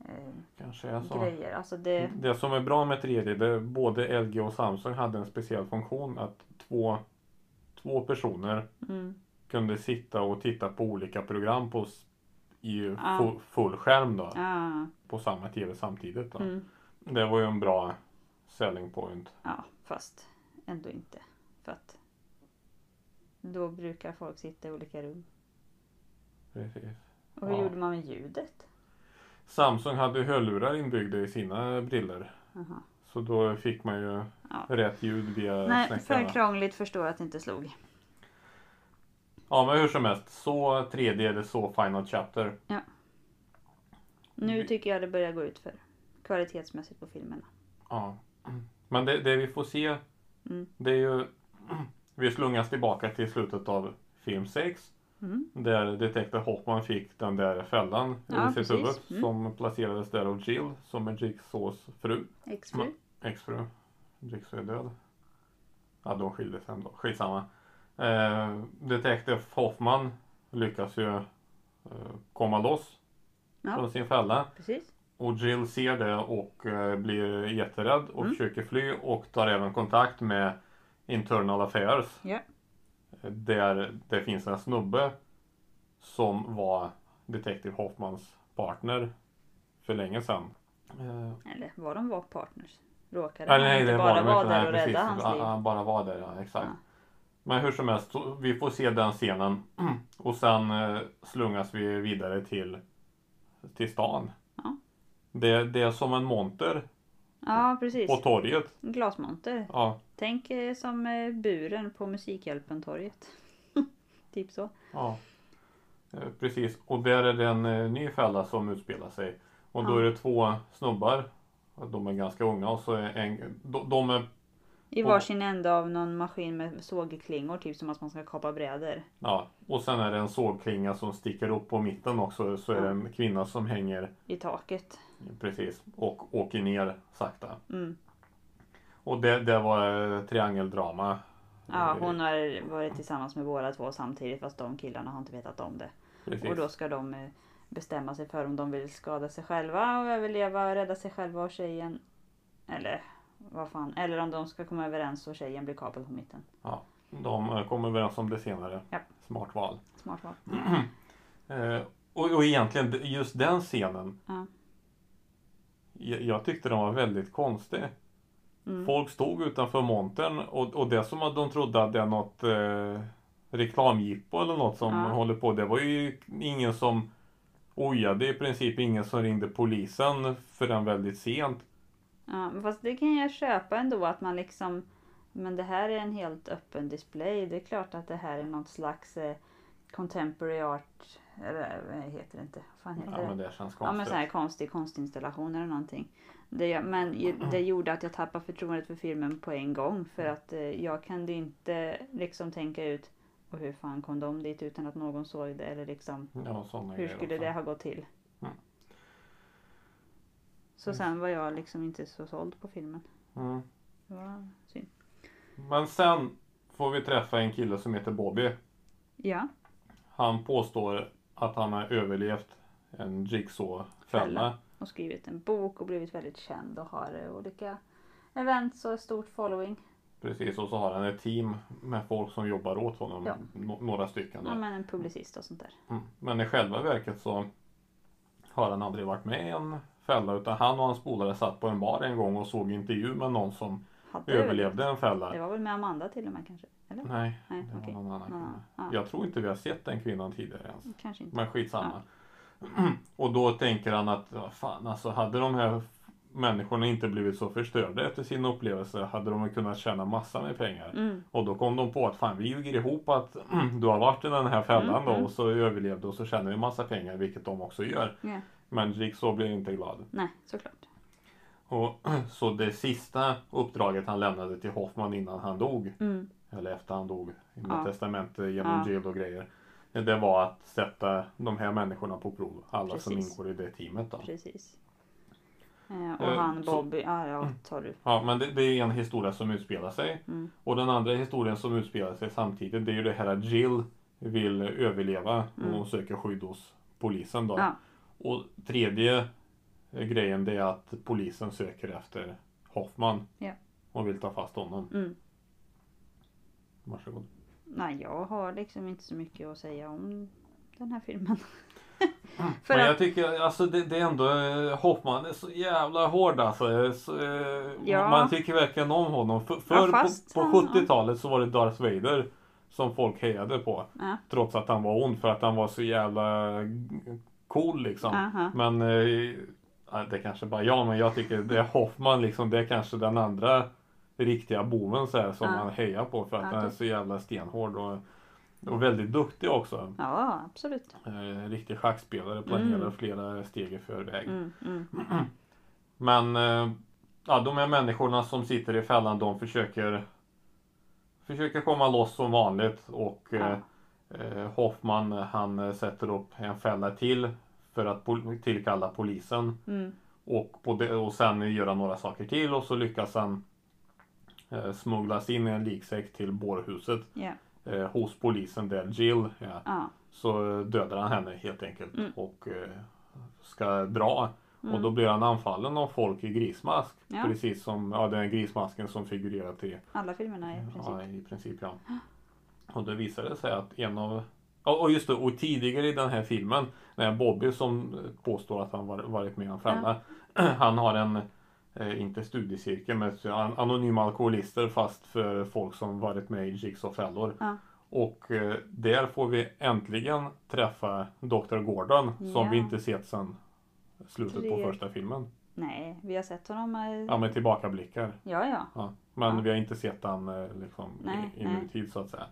B: eh, eh,
A: Kanske är så.
B: grejer. Alltså det...
A: Det som är bra med 3D, det, både LG och Samsung hade en speciell funktion att två, två personer
B: Mm,
A: kunde sitta och titta på olika program på, s- i
B: Ja.
A: fu- full skärm då,
B: ah,
A: på samma TV samtidigt. Då.
B: mm.
A: Det var ju en bra selling point.
B: Ja, fast ändå inte. För att då brukar folk sitta i olika rum.
A: Precis.
B: Och hur
A: Ja.
B: gjorde man med ljudet?
A: Samsung hade ju hörlurar inbyggda i sina briller
B: Aha.
A: så då fick man ju
B: Ja.
A: rätt ljud via
B: Nej,
A: snäckarna.
B: för krångligt förstår att det inte slog.
A: Ja men hur som helst, så 3D eller så Final Chapter.
B: Nu
A: Vi-
B: tycker jag det börjar gå ut för kvalitetsmässigt på filmerna.
A: Ja. Men det, det vi får se,
B: Mm.
A: det är ju... Vi slungas tillbaka till slutet av film 6.
B: Mm.
A: Där detektor Hoffman fick den där fällan
B: Ja,
A: i sitt
B: precis.
A: huvud
B: Mm.
A: som placerades där av Jill som är Jigsaws fru,
B: Exfru.
A: exfru. Jigsaw är död. Ja, de skilde sig ändå. Skitsamma. Eh, detektor Hoffman lyckas ju eh, komma loss
B: Ja.
A: från sin fälla.
B: Precis.
A: Och Jill ser det och eh, blir jätterädd och
B: Mm.
A: försöker fly och tar även kontakt med Internal Affairs. Eh,
B: Ja.
A: Där det finns en snubbe som var Detective Hoffmans partner för länge sedan. Eh,
B: Eller vad de var partners. råkade
A: Ja,
B: han
A: nej,
B: inte
A: det
B: bara
A: var det
B: vara
A: verkligen.
B: där
A: Nej,
B: och rädda
A: precis.
B: hans
A: Han-
B: liv.
A: Han bara var där, ja. Exakt.
B: Ja.
A: Men hur som helst, så vi får se den scenen. Och sen eh, slungas vi vidare till, till stan.
B: Ja.
A: Det, det är som en monter
B: Ja, precis.
A: på torget.
B: En Glasmonter.
A: Ja,
B: Tänk eh, som eh, buren på Musikhjälpen-torget. typ så.
A: ja. Eh, Precis. Och där är det en eh, ny fälla som utspelar sig. Och då
B: Ja.
A: är det två snubbar. De är ganska unga och så är en, de, de är,
B: I
A: Och-
B: varsin ände av någon maskin med sågklingor, typ som att man ska kapa brädor.
A: ja. Och sen är det en sågklinga som sticker upp på mitten också. Så är det en kvinna som hänger
B: I taket.
A: Precis, och åker ner sakta.
B: Mm.
A: Och det, det var eh, triangeldrama.
B: Ja,
A: Eh,
B: hon har varit tillsammans med båda två samtidigt fast de killarna har inte vetat om det.
A: Precis.
B: Och då ska de eh, bestämma sig för om de vill skada sig själva och överleva, rädda sig själva och tjejen. Eller vad fan. Eller om de ska komma överens och tjejen blir kapad på mitten.
A: De eh, kom överens om det senare.
B: Ja.
A: Smart val.
B: Smart val.
A: Eh, och, och egentligen d- just den scenen.
B: Ja.
A: Jag, jag tyckte den var väldigt konstig.
B: Mm.
A: Folk stod utanför montern och, och det som att de trodde att det är något eh, reklamjippo eller något som
B: Ja.
A: håller på. Det var ju ingen som ojade i princip. Ingen som ringde polisen förrän väldigt sent.
B: Ja, men fast det kan jag köpa ändå att man liksom Men det här är en helt öppen display. Det är klart att det här är något slags eh, contemporary art. Eller eh, vad heter det inte? Vad fan heter
A: Ja,
B: det?
A: men det känns
B: Ja men
A: konstigt.
B: så här konstig konstinstallation eller någonting. Det, gör- men ju-
A: Mm.
B: det gjorde att jag tappade förtroendet för filmen på en gång. För att eh, jag kunde inte liksom tänka ut och hur fan kom de dit utan att någon såg det eller liksom
A: Ja, såna
B: hur
A: grejer
B: skulle
A: också.
B: det ha gått till?
A: Mm.
B: Så sen var jag liksom inte så såld på filmen.
A: Mm.
B: Det var synd.
A: Men sen får vi träffa en kille som heter Bobby.
B: Ja,
A: Han påstår att han har överlevt en jigsaw-fälla.
B: Fälla. och skrivit en bok och blivit väldigt känd och har eh, olika events och stort following.
A: Precis, och så har han ett team med folk som jobbar åt honom.
B: Ja.
A: Nå- Några stycken. då.
B: Ja men en publicist och sånt där.
A: Mm. Men i själva verket så har han aldrig varit med i en fälla. Utan han och hans polare satt på en bar en gång och såg intervju med någon som
B: Hade
A: överlevde en fälla.
B: Det var väl med Amanda till och med kanske? Eller?
A: Nej,
B: Nej,
A: det var
B: okej.
A: någon annan
B: Någon
A: kvinna.
B: annan. Ja.
A: Jag tror inte vi har sett den kvinnan tidigare ens.
B: Kanske inte.
A: Men skitsamma. Och då tänker han att, "Ja, fan alltså, hade de här människorna inte blivit så förstörda efter sin upplevelse hade de kunnat tjäna massa med pengar.
B: Mm.
A: Och då kom de på att fan vi ljuger ihop att du har varit i den här fällan
B: Mm, mm.
A: då och så överlevde och så tjänar vi massa pengar, vilket de också gör.
B: Ja.
A: Men Jigsaw blir inte glad.
B: Nej, såklart.
A: Och, så det sista uppdraget han lämnade till Hoffman innan han dog
B: Mm.
A: eller efter han dog, med
B: Ja.
A: testamente eh, genom
B: Ja.
A: Jill och grejer. Det var att sätta de här människorna på prov, alla som
B: Precis.
A: ingår i det teamet. Då.
B: Precis. Eh, och
A: Eh,
B: han
A: så- Mm.
B: Bobby, ja ja, tar du.
A: Ja, men det, det är en historia som utspelar sig.
B: Mm.
A: Och den andra historien som utspelar sig samtidigt, det är ju det här att Jill vill överleva och hon söker skydd hos polisen. Då.
B: Mm. Ja.
A: Och tredje eh, grejen, det är att polisen söker efter Hoffman
B: Ja.
A: och vill ta fast honom.
B: Mm.
A: Varsågod.
B: Nej, jag har liksom inte så mycket att säga om den här filmen. För
A: men
B: att,
A: jag tycker alltså det, det är ändå eh, Hoffman är så jävla hård alltså. Eh, Så, eh,
B: Ja.
A: Man tycker verkligen om honom. F-
B: Ja,
A: förr
B: fast
A: på, på
B: han-
A: 70-talet så var det Darth Vader som folk hejade på.
B: Ja.
A: Trots att han var ond för att han var så jävla g- cool liksom.
B: Aha.
A: Men eh, ja, det kanske bara jag men jag tycker det är Hoffman liksom. Det är kanske den andra riktiga boven så här, som
B: Ja.
A: man hejar på för att
B: Ja, typ.
A: han är
B: okej.
A: så jävla stenhård och, och väldigt duktig också.
B: Ja, absolut.
A: Eh, riktig schackspelare planerar
B: Mm.
A: flera steg i förväg.
B: Mm, mm.
A: Men eh, ja, de här människorna som sitter i fällan de försöker försöker komma loss som vanligt och eh, eh, Hoffman han eh, sätter upp en fälla till för att pol- tillkalla polisen
B: Mm.
A: och, på det, och sen göra några saker till och så lyckas han eh, smugglas in i en liksäck till bårhuset
B: Ja.
A: eh, hos polisen där Jill är.
B: Ja.
A: Så dödar han henne helt enkelt
B: Mm.
A: och eh, ska dra.
B: Mm.
A: Och då blir han anfallen av folk i grismask.
B: Ja.
A: Precis som ja, den grismasken som figurerar i,
B: Alla filmerna i princip.
A: ja, i princip. Ja. Och då visar det sig att en av Ja, och just det, och tidigare i den här filmen, när Bobby som påstår att han var, varit med i en fälla, han har en eh, inte studiecirkel, men så an- anonyma alkoholister fast för folk som varit med i Jigsaw Fällor.
B: Ja.
A: Och eh, där får vi äntligen träffa Dr. Gordon som
B: Ja.
A: vi inte sett sedan slutet på
B: Tre-
A: första filmen.
B: Nej, vi har sett honom. eh,
A: Ja, med tillbakablickar.
B: Ja, ja.
A: Ja. Men
B: Ja.
A: vi har inte sett han eh, liksom,
B: Nej,
A: i, i
B: nej.
A: nutid så att säga.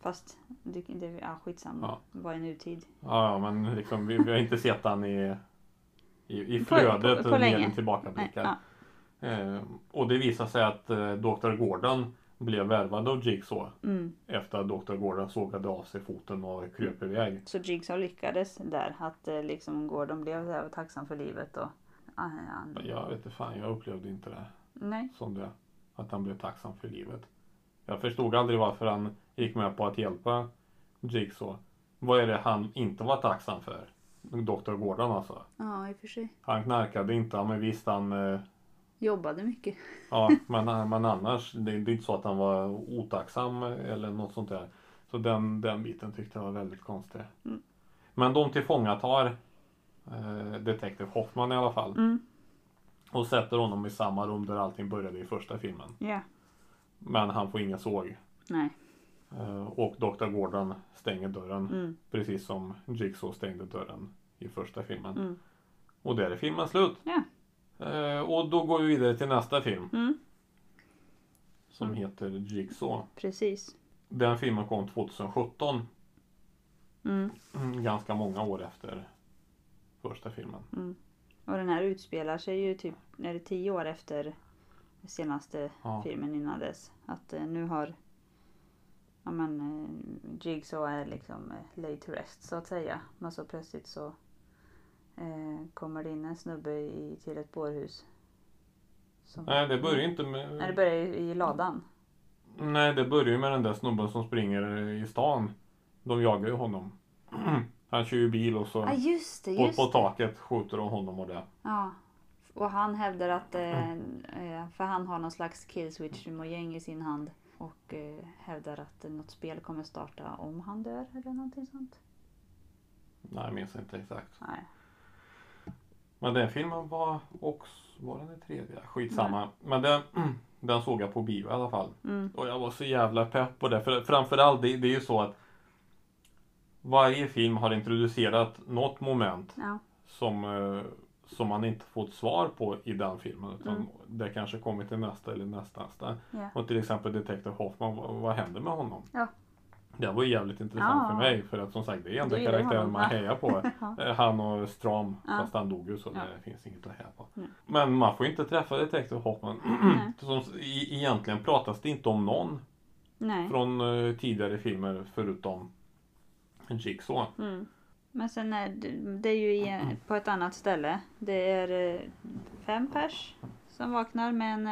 B: Fast det, det ja, skitsamma.
A: Ja.
B: Vad är nutid?
A: Ja, ja, men liksom, vi, vi har inte sett han i, i, i
B: På- på-
A: flödet
B: på
A: mer
B: länge.
A: än
B: Nej,
A: tillbakablickar.
B: ja.
A: Eh, och det visar sig att eh, Dr. Gordon blev värvad av Jigsaw
B: Mm.
A: efter att Dr. Gordon sågade av sig foten och kröp iväg.
B: Så Jigsaw lyckades där. Att eh, liksom Gordon blev så här tacksam för livet. Och, ah, han,
A: Jag vet inte fan, jag upplevde inte det
B: nej.
A: som det. Att han blev tacksam för livet. Jag förstod aldrig varför han gick med på att hjälpa Jigsaw. Vad är det han inte var tacksam för? Dr. Gordon alltså.
B: Ja, i och för sig.
A: Han knarkade inte, ja, men visst han eh,
B: Jobbade mycket.
A: Ja, men, men annars, det, det är inte så att han var otacksam eller något sånt där. Så den, den biten tyckte jag var väldigt konstig.
B: Mm.
A: Men de tillfångatar eh, Detective Hoffman i alla fall
B: Mm.
A: och sätter honom i samma rum där allting började i första filmen.
B: Ja.
A: Men han får ingen såg.
B: Nej.
A: Eh, och Dr. Gordon stänger dörren
B: Mm.
A: precis som Jigsaw stängde dörren i första filmen.
B: Mm.
A: Och där är filmen slut.
B: Ja.
A: Eh, och då går vi vidare till nästa film
B: Mm.
A: som heter Jigsaw.
B: Precis.
A: Den filmen kom 2017,
B: Mm.
A: mm, ganska många år efter första filmen.
B: Och den här utspelar sig ju typ, är det tio år efter senaste
A: Ja.
B: filmen innan dess. Att eh, nu har ja, men, eh, Jigsaw är liksom eh, laid to rest så att säga. Men så plötsligt så eh, kommer det in en snubbe i, till ett bårhus. Som,
A: Nej, det börjar ju inte
B: Nej, det
A: med...
B: börjar ju i ladan.
A: Nej, det börjar ju med den där snubben som springer eh, i stan. De jagar ju honom. Han kör ju bil och så
B: Ja ah, just det,
A: på,
B: just
A: på
B: det.
A: taket skjuter de honom och det.
B: Ja. Och han hävdar att, eh, eh, för han har någon slags killswitch gäng i sin hand. Och eh, hävdar att eh, något spel kommer starta om han dör eller någonting sånt.
A: Nej, jag minns inte exakt.
B: Nej.
A: Men den filmen var också... Var den i tredje? Skitsamma. Men den, den såg jag på bio i alla fall.
B: Mm.
A: Och jag var så jävla pepp på det. För, framförallt, det, det är ju så att varje film har introducerat något moment
B: Ja.
A: som, eh, som man inte fått svar på i den filmen. Utan Det kanske kommer till nästa eller nästnästa.
B: Mm. Ja.
A: Och till exempel Detective Hoffman, vad, vad händer med honom?
B: Ja.
A: Det var ju jävligt intressant
B: Ja.
A: för mig för att som sagt det är enda
B: Du gillar
A: karaktären
B: honom,
A: man
B: va?
A: hejar på. Eh, Han och Stram,
B: Ja.
A: fast han dog ju så
B: Ja.
A: det finns inget att heja på.
B: Nej.
A: Men man får ju inte träffa Detective Hoffman.
B: Nej.
A: som, i, egentligen pratas det inte om någon
B: Nej.
A: från eh, tidigare filmer förutom Jigsaw.
B: Mm. Men sen är det, det är ju i, på ett annat ställe. Det är eh, fem pers som vaknar med en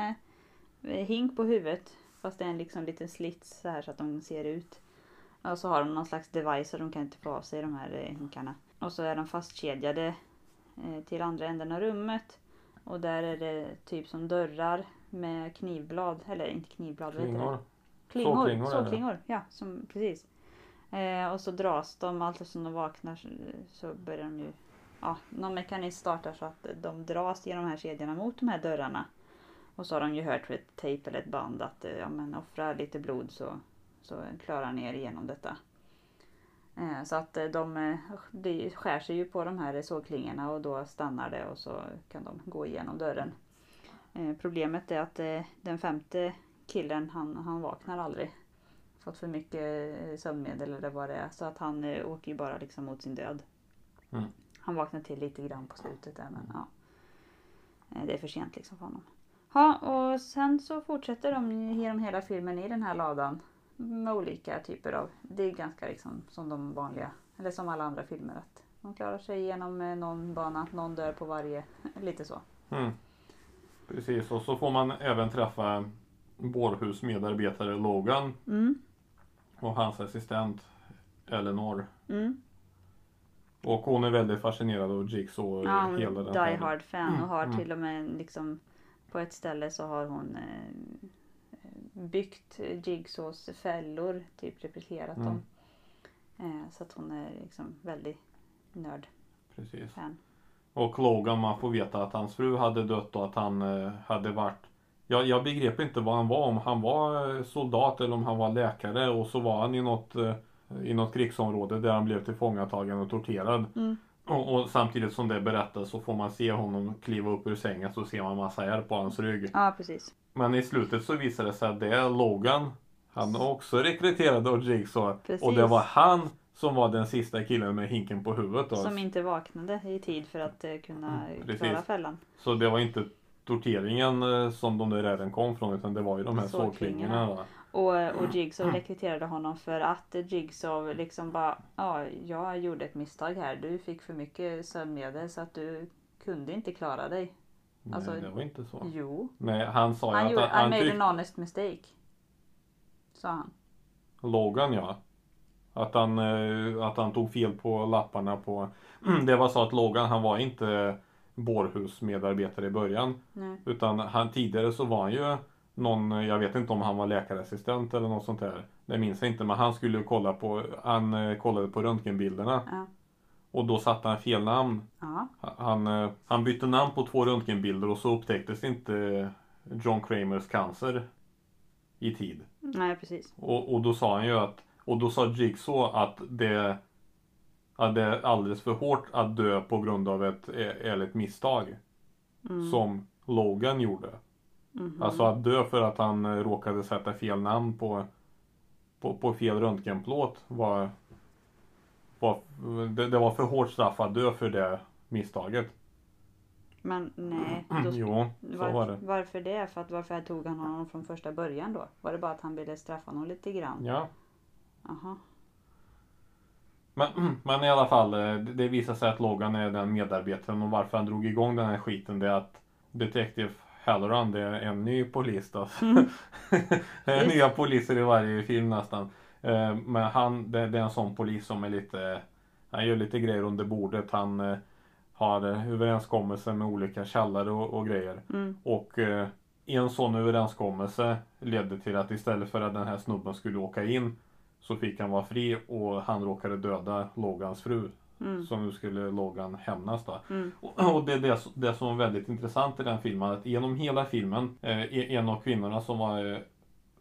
B: eh, hink på huvudet. Fast det är en liksom liten slits så här så att de ser ut. Och så har de någon slags device och de kan inte få av sig de här eh, hinkarna. Och så är de fastkedjade eh, till andra änden av rummet. Och där är det typ som dörrar med knivblad, eller inte knivblad, vad heter det?
A: Klingor.
B: Klingor,
A: Sågklingor är det.
B: sågklingor, ja som, precis. Eh, och så dras de allt eftersom de vaknar så, så börjar de ju, ja någon mekanism startar så att de dras genom de här kedjorna mot de här dörrarna. Och så har de ju hört på ett tejp eller ett band att eh, ja, men offra lite blod så, så klarar ni er igenom detta. Eh, så att eh, de eh, det skär sig ju på de här sågklingorna och då stannar det och så kan de gå igenom dörren. Eh, problemet är att eh, den femte killen han, han vaknar aldrig. Fått för mycket eh, sömnmedel eller vad det är. Så att han eh, åker ju bara liksom mot sin död.
A: Mm.
B: Han vaknar till lite grann på slutet där men ja. Eh, Det är för sent liksom för honom. Ja och sen så fortsätter de genom hela filmen i den här ladan. Med olika typer av, det är ganska liksom som de vanliga. Eller som alla andra filmer att de klarar sig igenom eh, någon bana, någon dör på varje. Lite så.
A: Mm. Precis, och så får man även träffa Bårhus medarbetare Logan
B: Mm,
A: och hans assistent Eleanor.
B: mm.
A: Och hon är väldigt fascinerad av Jigsaw och
B: Ja, hon
A: hela
B: är
A: den
B: die
A: här-
B: hard fan och har till och med liksom på ett ställe så har hon eh, byggt Jigsaws fällor, typ replikerat
A: Mm.
B: dem. Eh, så att hon är liksom väldigt nörd
A: Precis.
B: fan.
A: Och Logan man får veta att hans fru hade dött och att han eh, hade varit jag, jag begrep inte vad han var, om han var eh, soldat eller om han var läkare och så var han i något, eh, i något krigsområde där han blev tillfångatagen och torterad.
C: Mm.
A: Och, och samtidigt som det berättas så får man se honom kliva upp ur sängen så ser man massa ärr på hans rygg.
C: Ja, precis.
A: Men i slutet så visar det sig att det är Logan. Han är också rekryterad av Jigsaw.
C: Precis.
A: Och det var han som var den sista killen med hinken på huvudet. Då.
C: Som inte vaknade i tid för att eh, kunna
A: Mm, precis.
C: klara fällan.
A: Så det var inte torteringen eh, som de där räden kom från utan det var ju de här
C: Sågklingorna.
A: sågklingorna. va.
C: Och, eh, och Jigsaw rekryterade honom för att Jigsaw liksom bara, ja, jag gjorde ett misstag här. Du fick för mycket sömnmedel så att du kunde inte klara dig. Alltså-
A: Nej, det var inte så.
C: Jo,
A: Nej, han sa
C: han,
A: ju
C: gjorde,
A: att
C: han
A: han,
C: made
A: tryckte
C: an honest mistake. Sa han.
A: Logan ja. Att han, eh, att han tog fel på lapparna på... det var så att Logan han var inte bårhusmedarbetare i början.
C: Nej.
A: Utan han, tidigare så var han ju någon, jag vet inte om han var läkarassistent eller något sånt där. Det minns jag inte men han skulle ju kolla på, han eh, kollade på röntgenbilderna.
C: Ja.
A: Och då satte han fel namn.
C: Ja,
A: Han, eh, han bytte namn på två röntgenbilder och så upptäcktes inte eh, John Kramers cancer i tid.
C: nej precis.
A: Och, och då sa han ju att, och då sa Jigsaw att det, att det är alldeles för hårt att dö på grund av ett eh, ärligt misstag.
B: Mm.
C: Mm,
A: Som Logan gjorde.
C: mhm.
A: Alltså att dö för att han eh, råkade sätta fel namn på, på, på fel röntgenplåt var, var det, det var för hårt straff att dö för det misstaget.
C: Men nej. Då,
A: Jo, så
C: var,
A: var det.
C: Varför det? För att varför tog han honom från första början då? Var det bara att han ville straffa honom lite grann?
A: Ja.
C: Aha.
A: Men, men i alla fall, eh, det det visar sig att Logan är den medarbetaren och varför han drog igång den här skiten det är att Detective Halloran, det är en ny polis då. det är
C: Just.
A: nya poliser i varje film nästan. Eh, Men han, det, det är en sån polis som är lite, han gör lite grejer under bordet. Han eh, har eh, överenskommelser med olika källare och, och grejer.
C: Mm.
A: Och eh, en sån överenskommelse ledde till att istället för att den här snubben skulle åka in så fick han vara fri och han råkade döda Logans fru.
C: Mm.
A: Så nu skulle Logan hämnas då.
C: Mm.
A: Och, och det är det, det som var väldigt intressant i den filmen. Att genom hela filmen, eh, en av kvinnorna som var eh,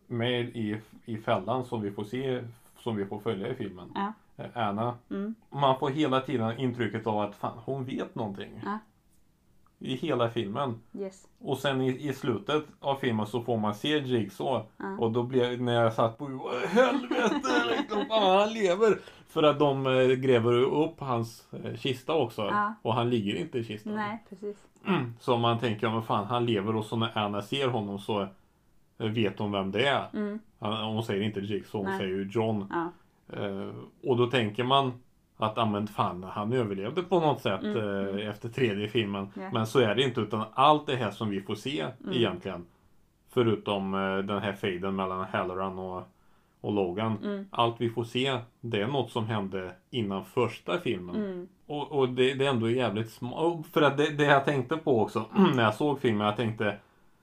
A: med i, i fällan som vi får se, som vi får följa i filmen.
C: Ja.
A: eh, Anna.
C: Mm.
A: Man får hela tiden intrycket av att fan, hon vet någonting.
C: Ja.
A: I hela filmen.
C: Yes.
A: Och sen i, i slutet av filmen så får man se Jigsaw.
C: Ja.
A: Och då blev när jag satt på helvete liksom, fan han lever! För att de eh, gräver upp hans eh, kista också.
C: Ja.
A: Och han ligger inte i kistan.
C: Nej, precis.
A: Mm. Så man tänker, men fan han lever och så när Anna ser honom så eh, vet hon vem det är.
C: Mm.
A: Han, hon säger inte Jigsaw, hon
C: Nej.
A: säger ju John.
C: Ja.
A: Eh, och då tänker man att ah, men fan, han överlevde på något sätt
C: Mm,
A: eh, efter tredje filmen.
C: Ja. Mm.
A: Men så är det inte utan allt det här som vi får se egentligen. Förutom eh, den här fejden mellan Halloran och, och Logan.
C: Mm.
A: Allt vi får se det är något som hände innan första filmen.
C: Mm.
A: Och, och det, det är ändå jävligt smart. För att det, det jag tänkte på också när jag såg filmen, jag tänkte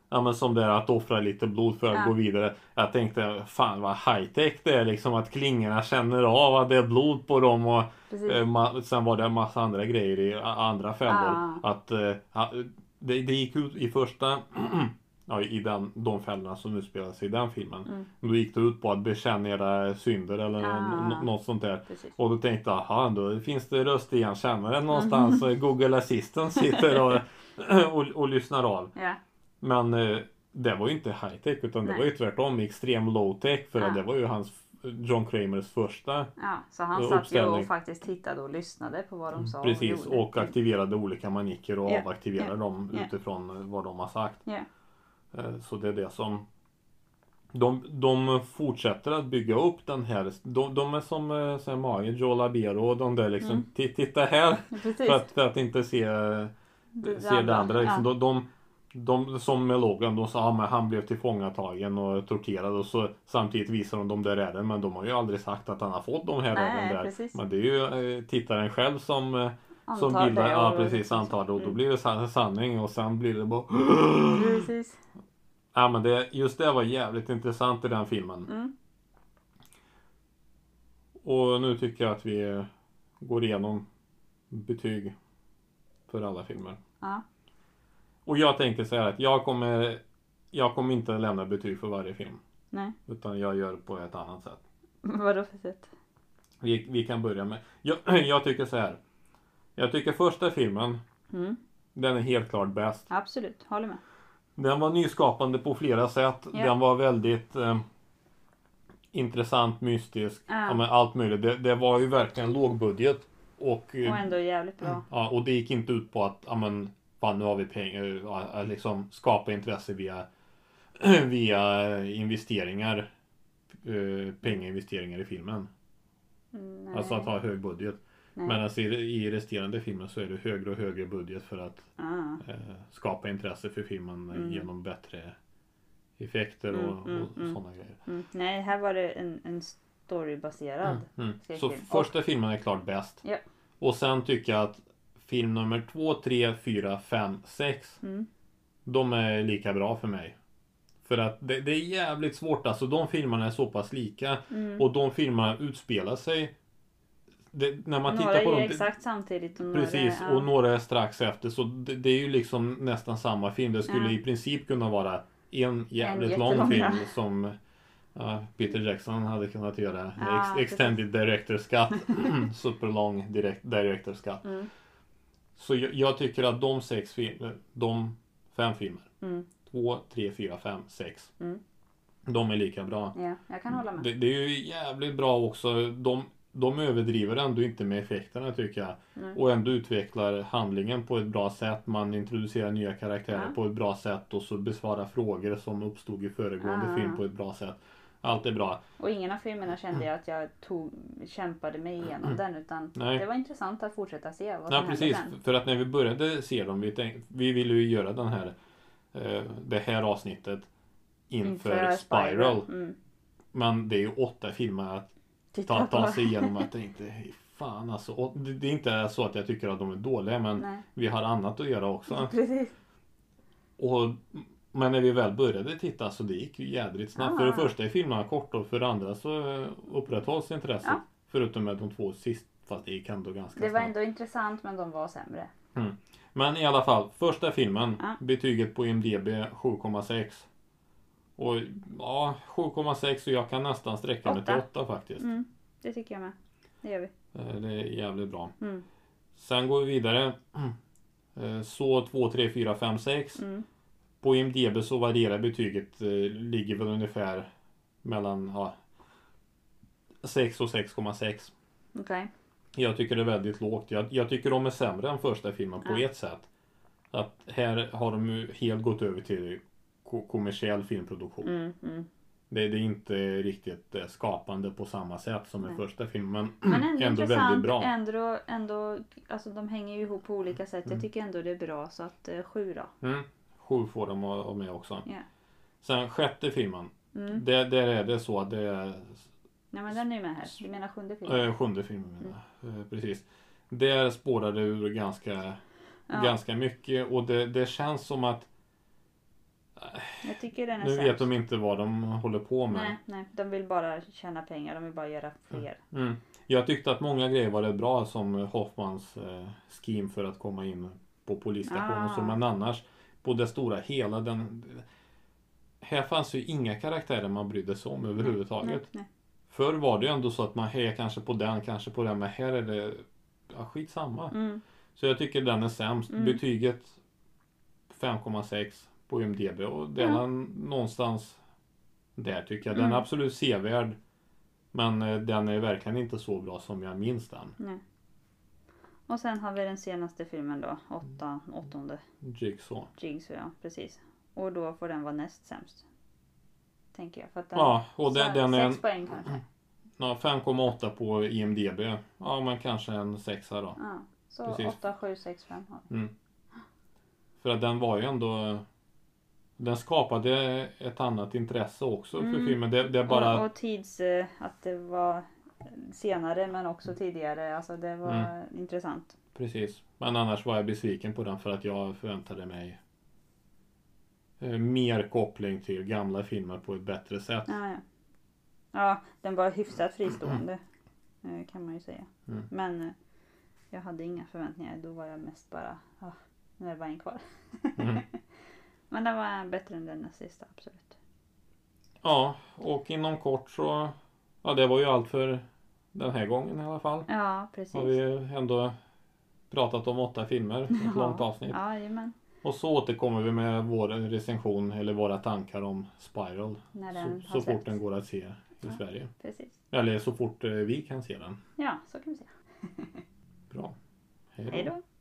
A: Ja men som det är att offra lite blod för att
C: Ja.
A: gå vidare. Jag tänkte fan vad high tech det är liksom att klingorna känner av att det är blod på dem och
C: Precis.
A: eh, ma- sen var det en massa andra grejer i a- andra fällor.
C: Ah.
A: Att eh, ha- det, det gick ut i första ja, i den, de fällorna som utspelar sig i den filmen.
C: Mm.
A: Då gick det ut på att bekänna era synder eller
C: Ah.
A: nå- något sånt där.
C: Precis.
A: Och då tänkte jag, aha, då finns det röstigenkännare
C: Mm.
A: någonstans. Google Assistant sitter och, och, och lyssnar av.
C: Ja.
A: Men eh, det var ju inte high-tech utan det
C: Nej.
A: var ju tvärtom extrem low-tech. För
C: Ja.
A: det var ju hans, John Kramers första.
C: ja. Så han
A: Och
C: satt ju
A: uppställning. Mm,
C: och faktiskt tittade och lyssnade på vad de sa
A: Precis,
C: och gjorde.
A: och aktiverade olika maniker och
C: Ja.
A: avaktiverade
C: Ja.
A: dem
C: Ja.
A: utifrån vad de har sagt.
C: Ja.
A: Eh, Så det är det som de, de fortsätter att bygga upp den här, de, de är som eh, så här Mario, Joe Labero och de där liksom,
C: Mm.
A: "Ti- titta här!
C: Precis.
A: För att, för att inte se,
C: Det
A: se det andra. Liksom.
C: Ja.
A: De, de, de, som med Logan, de sa att men han blev tillfångatagen och torterad och så samtidigt visar de de där räden men de har ju aldrig sagt att han har fått de här
C: Nej,
A: räden där.
C: precis.
A: Men det är ju eh, tittaren själv som, eh, som
C: Antar
A: bildar,
C: det
A: ja
C: och-
A: precis, antar det och då
C: Mm.
A: blir det san- sanning och sen blir det bara Mm.
C: Precis.
A: Ja men det, just det var jävligt intressant i den filmen.
C: Mm.
A: Och nu tycker jag att vi eh, går igenom betyg för alla filmer.
B: Ja.
A: Och jag tänkte så här att jag kommer, jag kommer inte lämna betyg för varje film.
B: Nej.
A: Utan jag gör på ett annat sätt.
B: Vadå för sätt?
A: Vi, vi kan börja med, jag, jag tycker så här. Jag tycker första filmen,
B: Mm.
A: den är helt klart bäst.
B: Absolut, håller med.
A: Den var nyskapande på flera sätt.
B: Ja.
A: Den var väldigt eh, intressant, mystisk,
B: Ja.
A: ja. men allt möjligt. Det, det var ju verkligen lågbudget. Och, eh,
B: Och ändå jävligt bra.
A: ja, och det gick inte ut på att ja, men, fan, nu har vi pengar, ja, att liksom skapa intresse via, via investeringar. eh, Pengainvesteringar i filmen.
B: Nej.
A: Alltså att ha hög budget.
B: Nej.
A: Medan i, i resterande filmer så är det högre och högre budget för att
B: Ah.
A: eh, skapa intresse för filmen eh,
B: Mm.
A: genom bättre effekter
B: Mm,
A: och,
B: mm,
A: och
B: mm.
A: sådana grejer.
B: Mm. Nej, här var det en, en storybaserad.
A: Mm.
B: Skräckfilm.
A: Så
B: Och-
A: första filmen är klart bäst.
B: Ja.
A: Och sen tycker jag att film nummer två, tre, fyra, fem, sex
B: Mm.
A: de är lika bra för mig. För att det, det är jävligt svårt alltså. De filmerna är så pass lika
B: Mm.
A: och de filmerna utspelar sig det, när man
B: några
A: tittar på
B: är
A: dem.
B: ju
A: det-
B: exakt samtidigt och några
A: Precis,
B: är,
A: och några är strax efter. Så det, det är ju liksom nästan samma film. Det skulle
B: Ja.
A: i princip kunna vara en jävligt
B: jättelång,
A: lång
B: ja.
A: film som ja, Peter Jackson hade kunnat göra.
B: Ja,
A: Ex- extended Director's Cut. Super long direct, Director's Cut.
B: Mm.
A: Så jag, jag tycker att de sex filmer, de fem filmer.
B: Mm.
A: Två, tre, fyra, fem, sex.
B: Mm.
A: De är lika bra.
B: Ja, jag kan hålla med.
A: Det, det är ju jävligt bra också. De, de överdriver ändå inte med effekterna tycker jag.
B: Nej.
A: Och ändå utvecklar handlingen på ett bra sätt. Man introducerar nya karaktärer
B: Ja.
A: på ett bra sätt och så besvarar frågor som uppstod i föregående
B: Ah.
A: film på ett bra sätt. Allt är bra.
B: Och ingen av filmerna kände jag att jag tog, kämpade mig igenom den utan
A: Mm. Nej.
B: det var intressant att fortsätta se vad som
A: Ja,
B: hände
A: precis.
B: sen.
A: För att när vi började se dem, vi, tänk, vi ville ju göra den här, eh, det här avsnittet inför, Spiral.
B: Mm.
A: Men det är ju åtta filmer att
B: Titta
A: ta,
B: på.
A: ta sig igenom. Att det inte, fan alltså. Och det, det är inte så att jag tycker att de är dåliga, men
B: Nej,
A: vi har annat att göra också.
B: precis.
A: Och, men när vi väl började titta så det gick ju jädrigt snabbt.
B: Ah.
A: För det första är filmerna korta och för det andra så eh, upprätthålls intresset.
B: Ja.
A: Förutom med de två sist. Fast det gick ändå ganska
B: Det var
A: snabbt.
B: ändå intressant men de var sämre.
A: Men i alla fall, första filmen.
B: Ja.
A: Betyget på IMDB 7,6. Och ja, 7,6 och jag kan nästan sträcka mig till
B: Åtta.
A: 8 faktiskt.
B: Mm. Det tycker jag med. Det gör vi.
A: Eh, Det är jävligt bra.
B: Mm.
A: Sen går vi vidare. Eh, Så 2, 3, 4, 5, 6.
B: Mm.
A: På IMDB så varierar betyget, eh, ligger väl ungefär mellan ja, 6 och 6,6.
B: Okej.
A: Jag tycker det är väldigt lågt. Jag, jag tycker de är sämre än första filmen på
B: Ja.
A: ett sätt. Att här har de ju helt gått över till ko- kommersiell filmproduktion.
B: Mm. Mm.
A: Det, det är inte riktigt eh, skapande på samma sätt som i
B: Nej.
A: första filmen.
B: Men ändå,
A: ändå väldigt
B: intressant.
A: bra.
B: Ändå, ändå, alltså de hänger ju ihop på olika sätt. Jag tycker ändå det är bra så att eh, sju då.
A: Mm. Sju får de av av mig också.
B: Ja.
A: Sen sjätte filmen.
B: Mm.
A: Där, där är det så att det är
B: Nej men den är ju med här. Du menar sjunde filmen?
A: Eh, sjunde filmen menar jag.
B: Mm.
A: Eh, precis. Där spårar det ur ganska,
B: Ja.
A: ganska mycket och det, det känns som att
B: Jag tycker den är
A: nu
B: sämst.
A: vet de inte vad de håller på med.
B: Nej, nej, de vill bara tjäna pengar. De vill bara göra fler.
A: Mm. Jag tyckte att många grejer var rätt bra som Hoffmans eh, scheme för att komma in på polisstationen och så
B: Ah.
A: men annars på det stora hela den här fanns ju inga karaktärer man brydde sig om överhuvudtaget.
B: Nej, nej.
A: Förr var det ju ändå så att man hejar kanske på den, kanske på den, men här är det ja, skitsamma.
B: Mm.
A: Så jag tycker den är sämst.
B: Mm.
A: Betyget 5,6 på IMDB och den
B: Ja.
A: är någonstans där tycker jag. Den är
B: Mm.
A: absolut sevärd. Men eh, den är verkligen inte så bra som jag minns den.
B: Och sen har vi den senaste filmen då. Åtta, åttonde.
A: Jigsaw.
B: Jigsaw ja, precis. Och då får den vara näst sämst. Tänker jag. För att den,
A: Ja, och
B: så-
A: den, den är Mm. en
B: Sex poäng kanske.
A: ja, 5,8 på IMDB. Ja, men kanske en sexa då.
B: Ja. Så
A: Precis.
B: åtta, sju, sex, fem. har vi.
A: För att den var ju ändå... Den skapade ett annat intresse också
B: Mm.
A: för filmen. Det, det är bara...
B: Och, och tids... eh, Att det var senare men också tidigare. Alltså det var
A: Mm.
B: intressant.
A: Precis. Men annars var jag besviken på den för att jag förväntade mig eh, mer koppling till gamla filmer på ett bättre sätt.
B: Ja, ja. ja, den var hyfsat fristående. eh, Kan man ju säga.
A: Mm.
B: Men eh, Jag hade inga förväntningar. Då var jag mest bara, ah, nu är det bara en kvar.
A: Mm.
B: Men den var bättre än den näst sista, absolut.
A: Ja, och inom kort så... Ja, det var ju allt för den här gången i alla fall.
B: Ja,
A: Har vi
B: precis.
A: ju ändå pratat om åtta filmer, ett
B: Ja.
A: långt avsnitt.
B: Ja, jajamän.
A: Och så återkommer vi med vår recension eller våra tankar om Spiral.
B: När
A: Så,
B: den
A: så
B: har
A: fort
B: släppts.
A: den går att se i
B: Ja.
A: Sverige.
B: Precis.
A: Eller så fort eh, vi kan se den.
B: Ja, så kan vi säga.
A: Bra.
B: Hej då.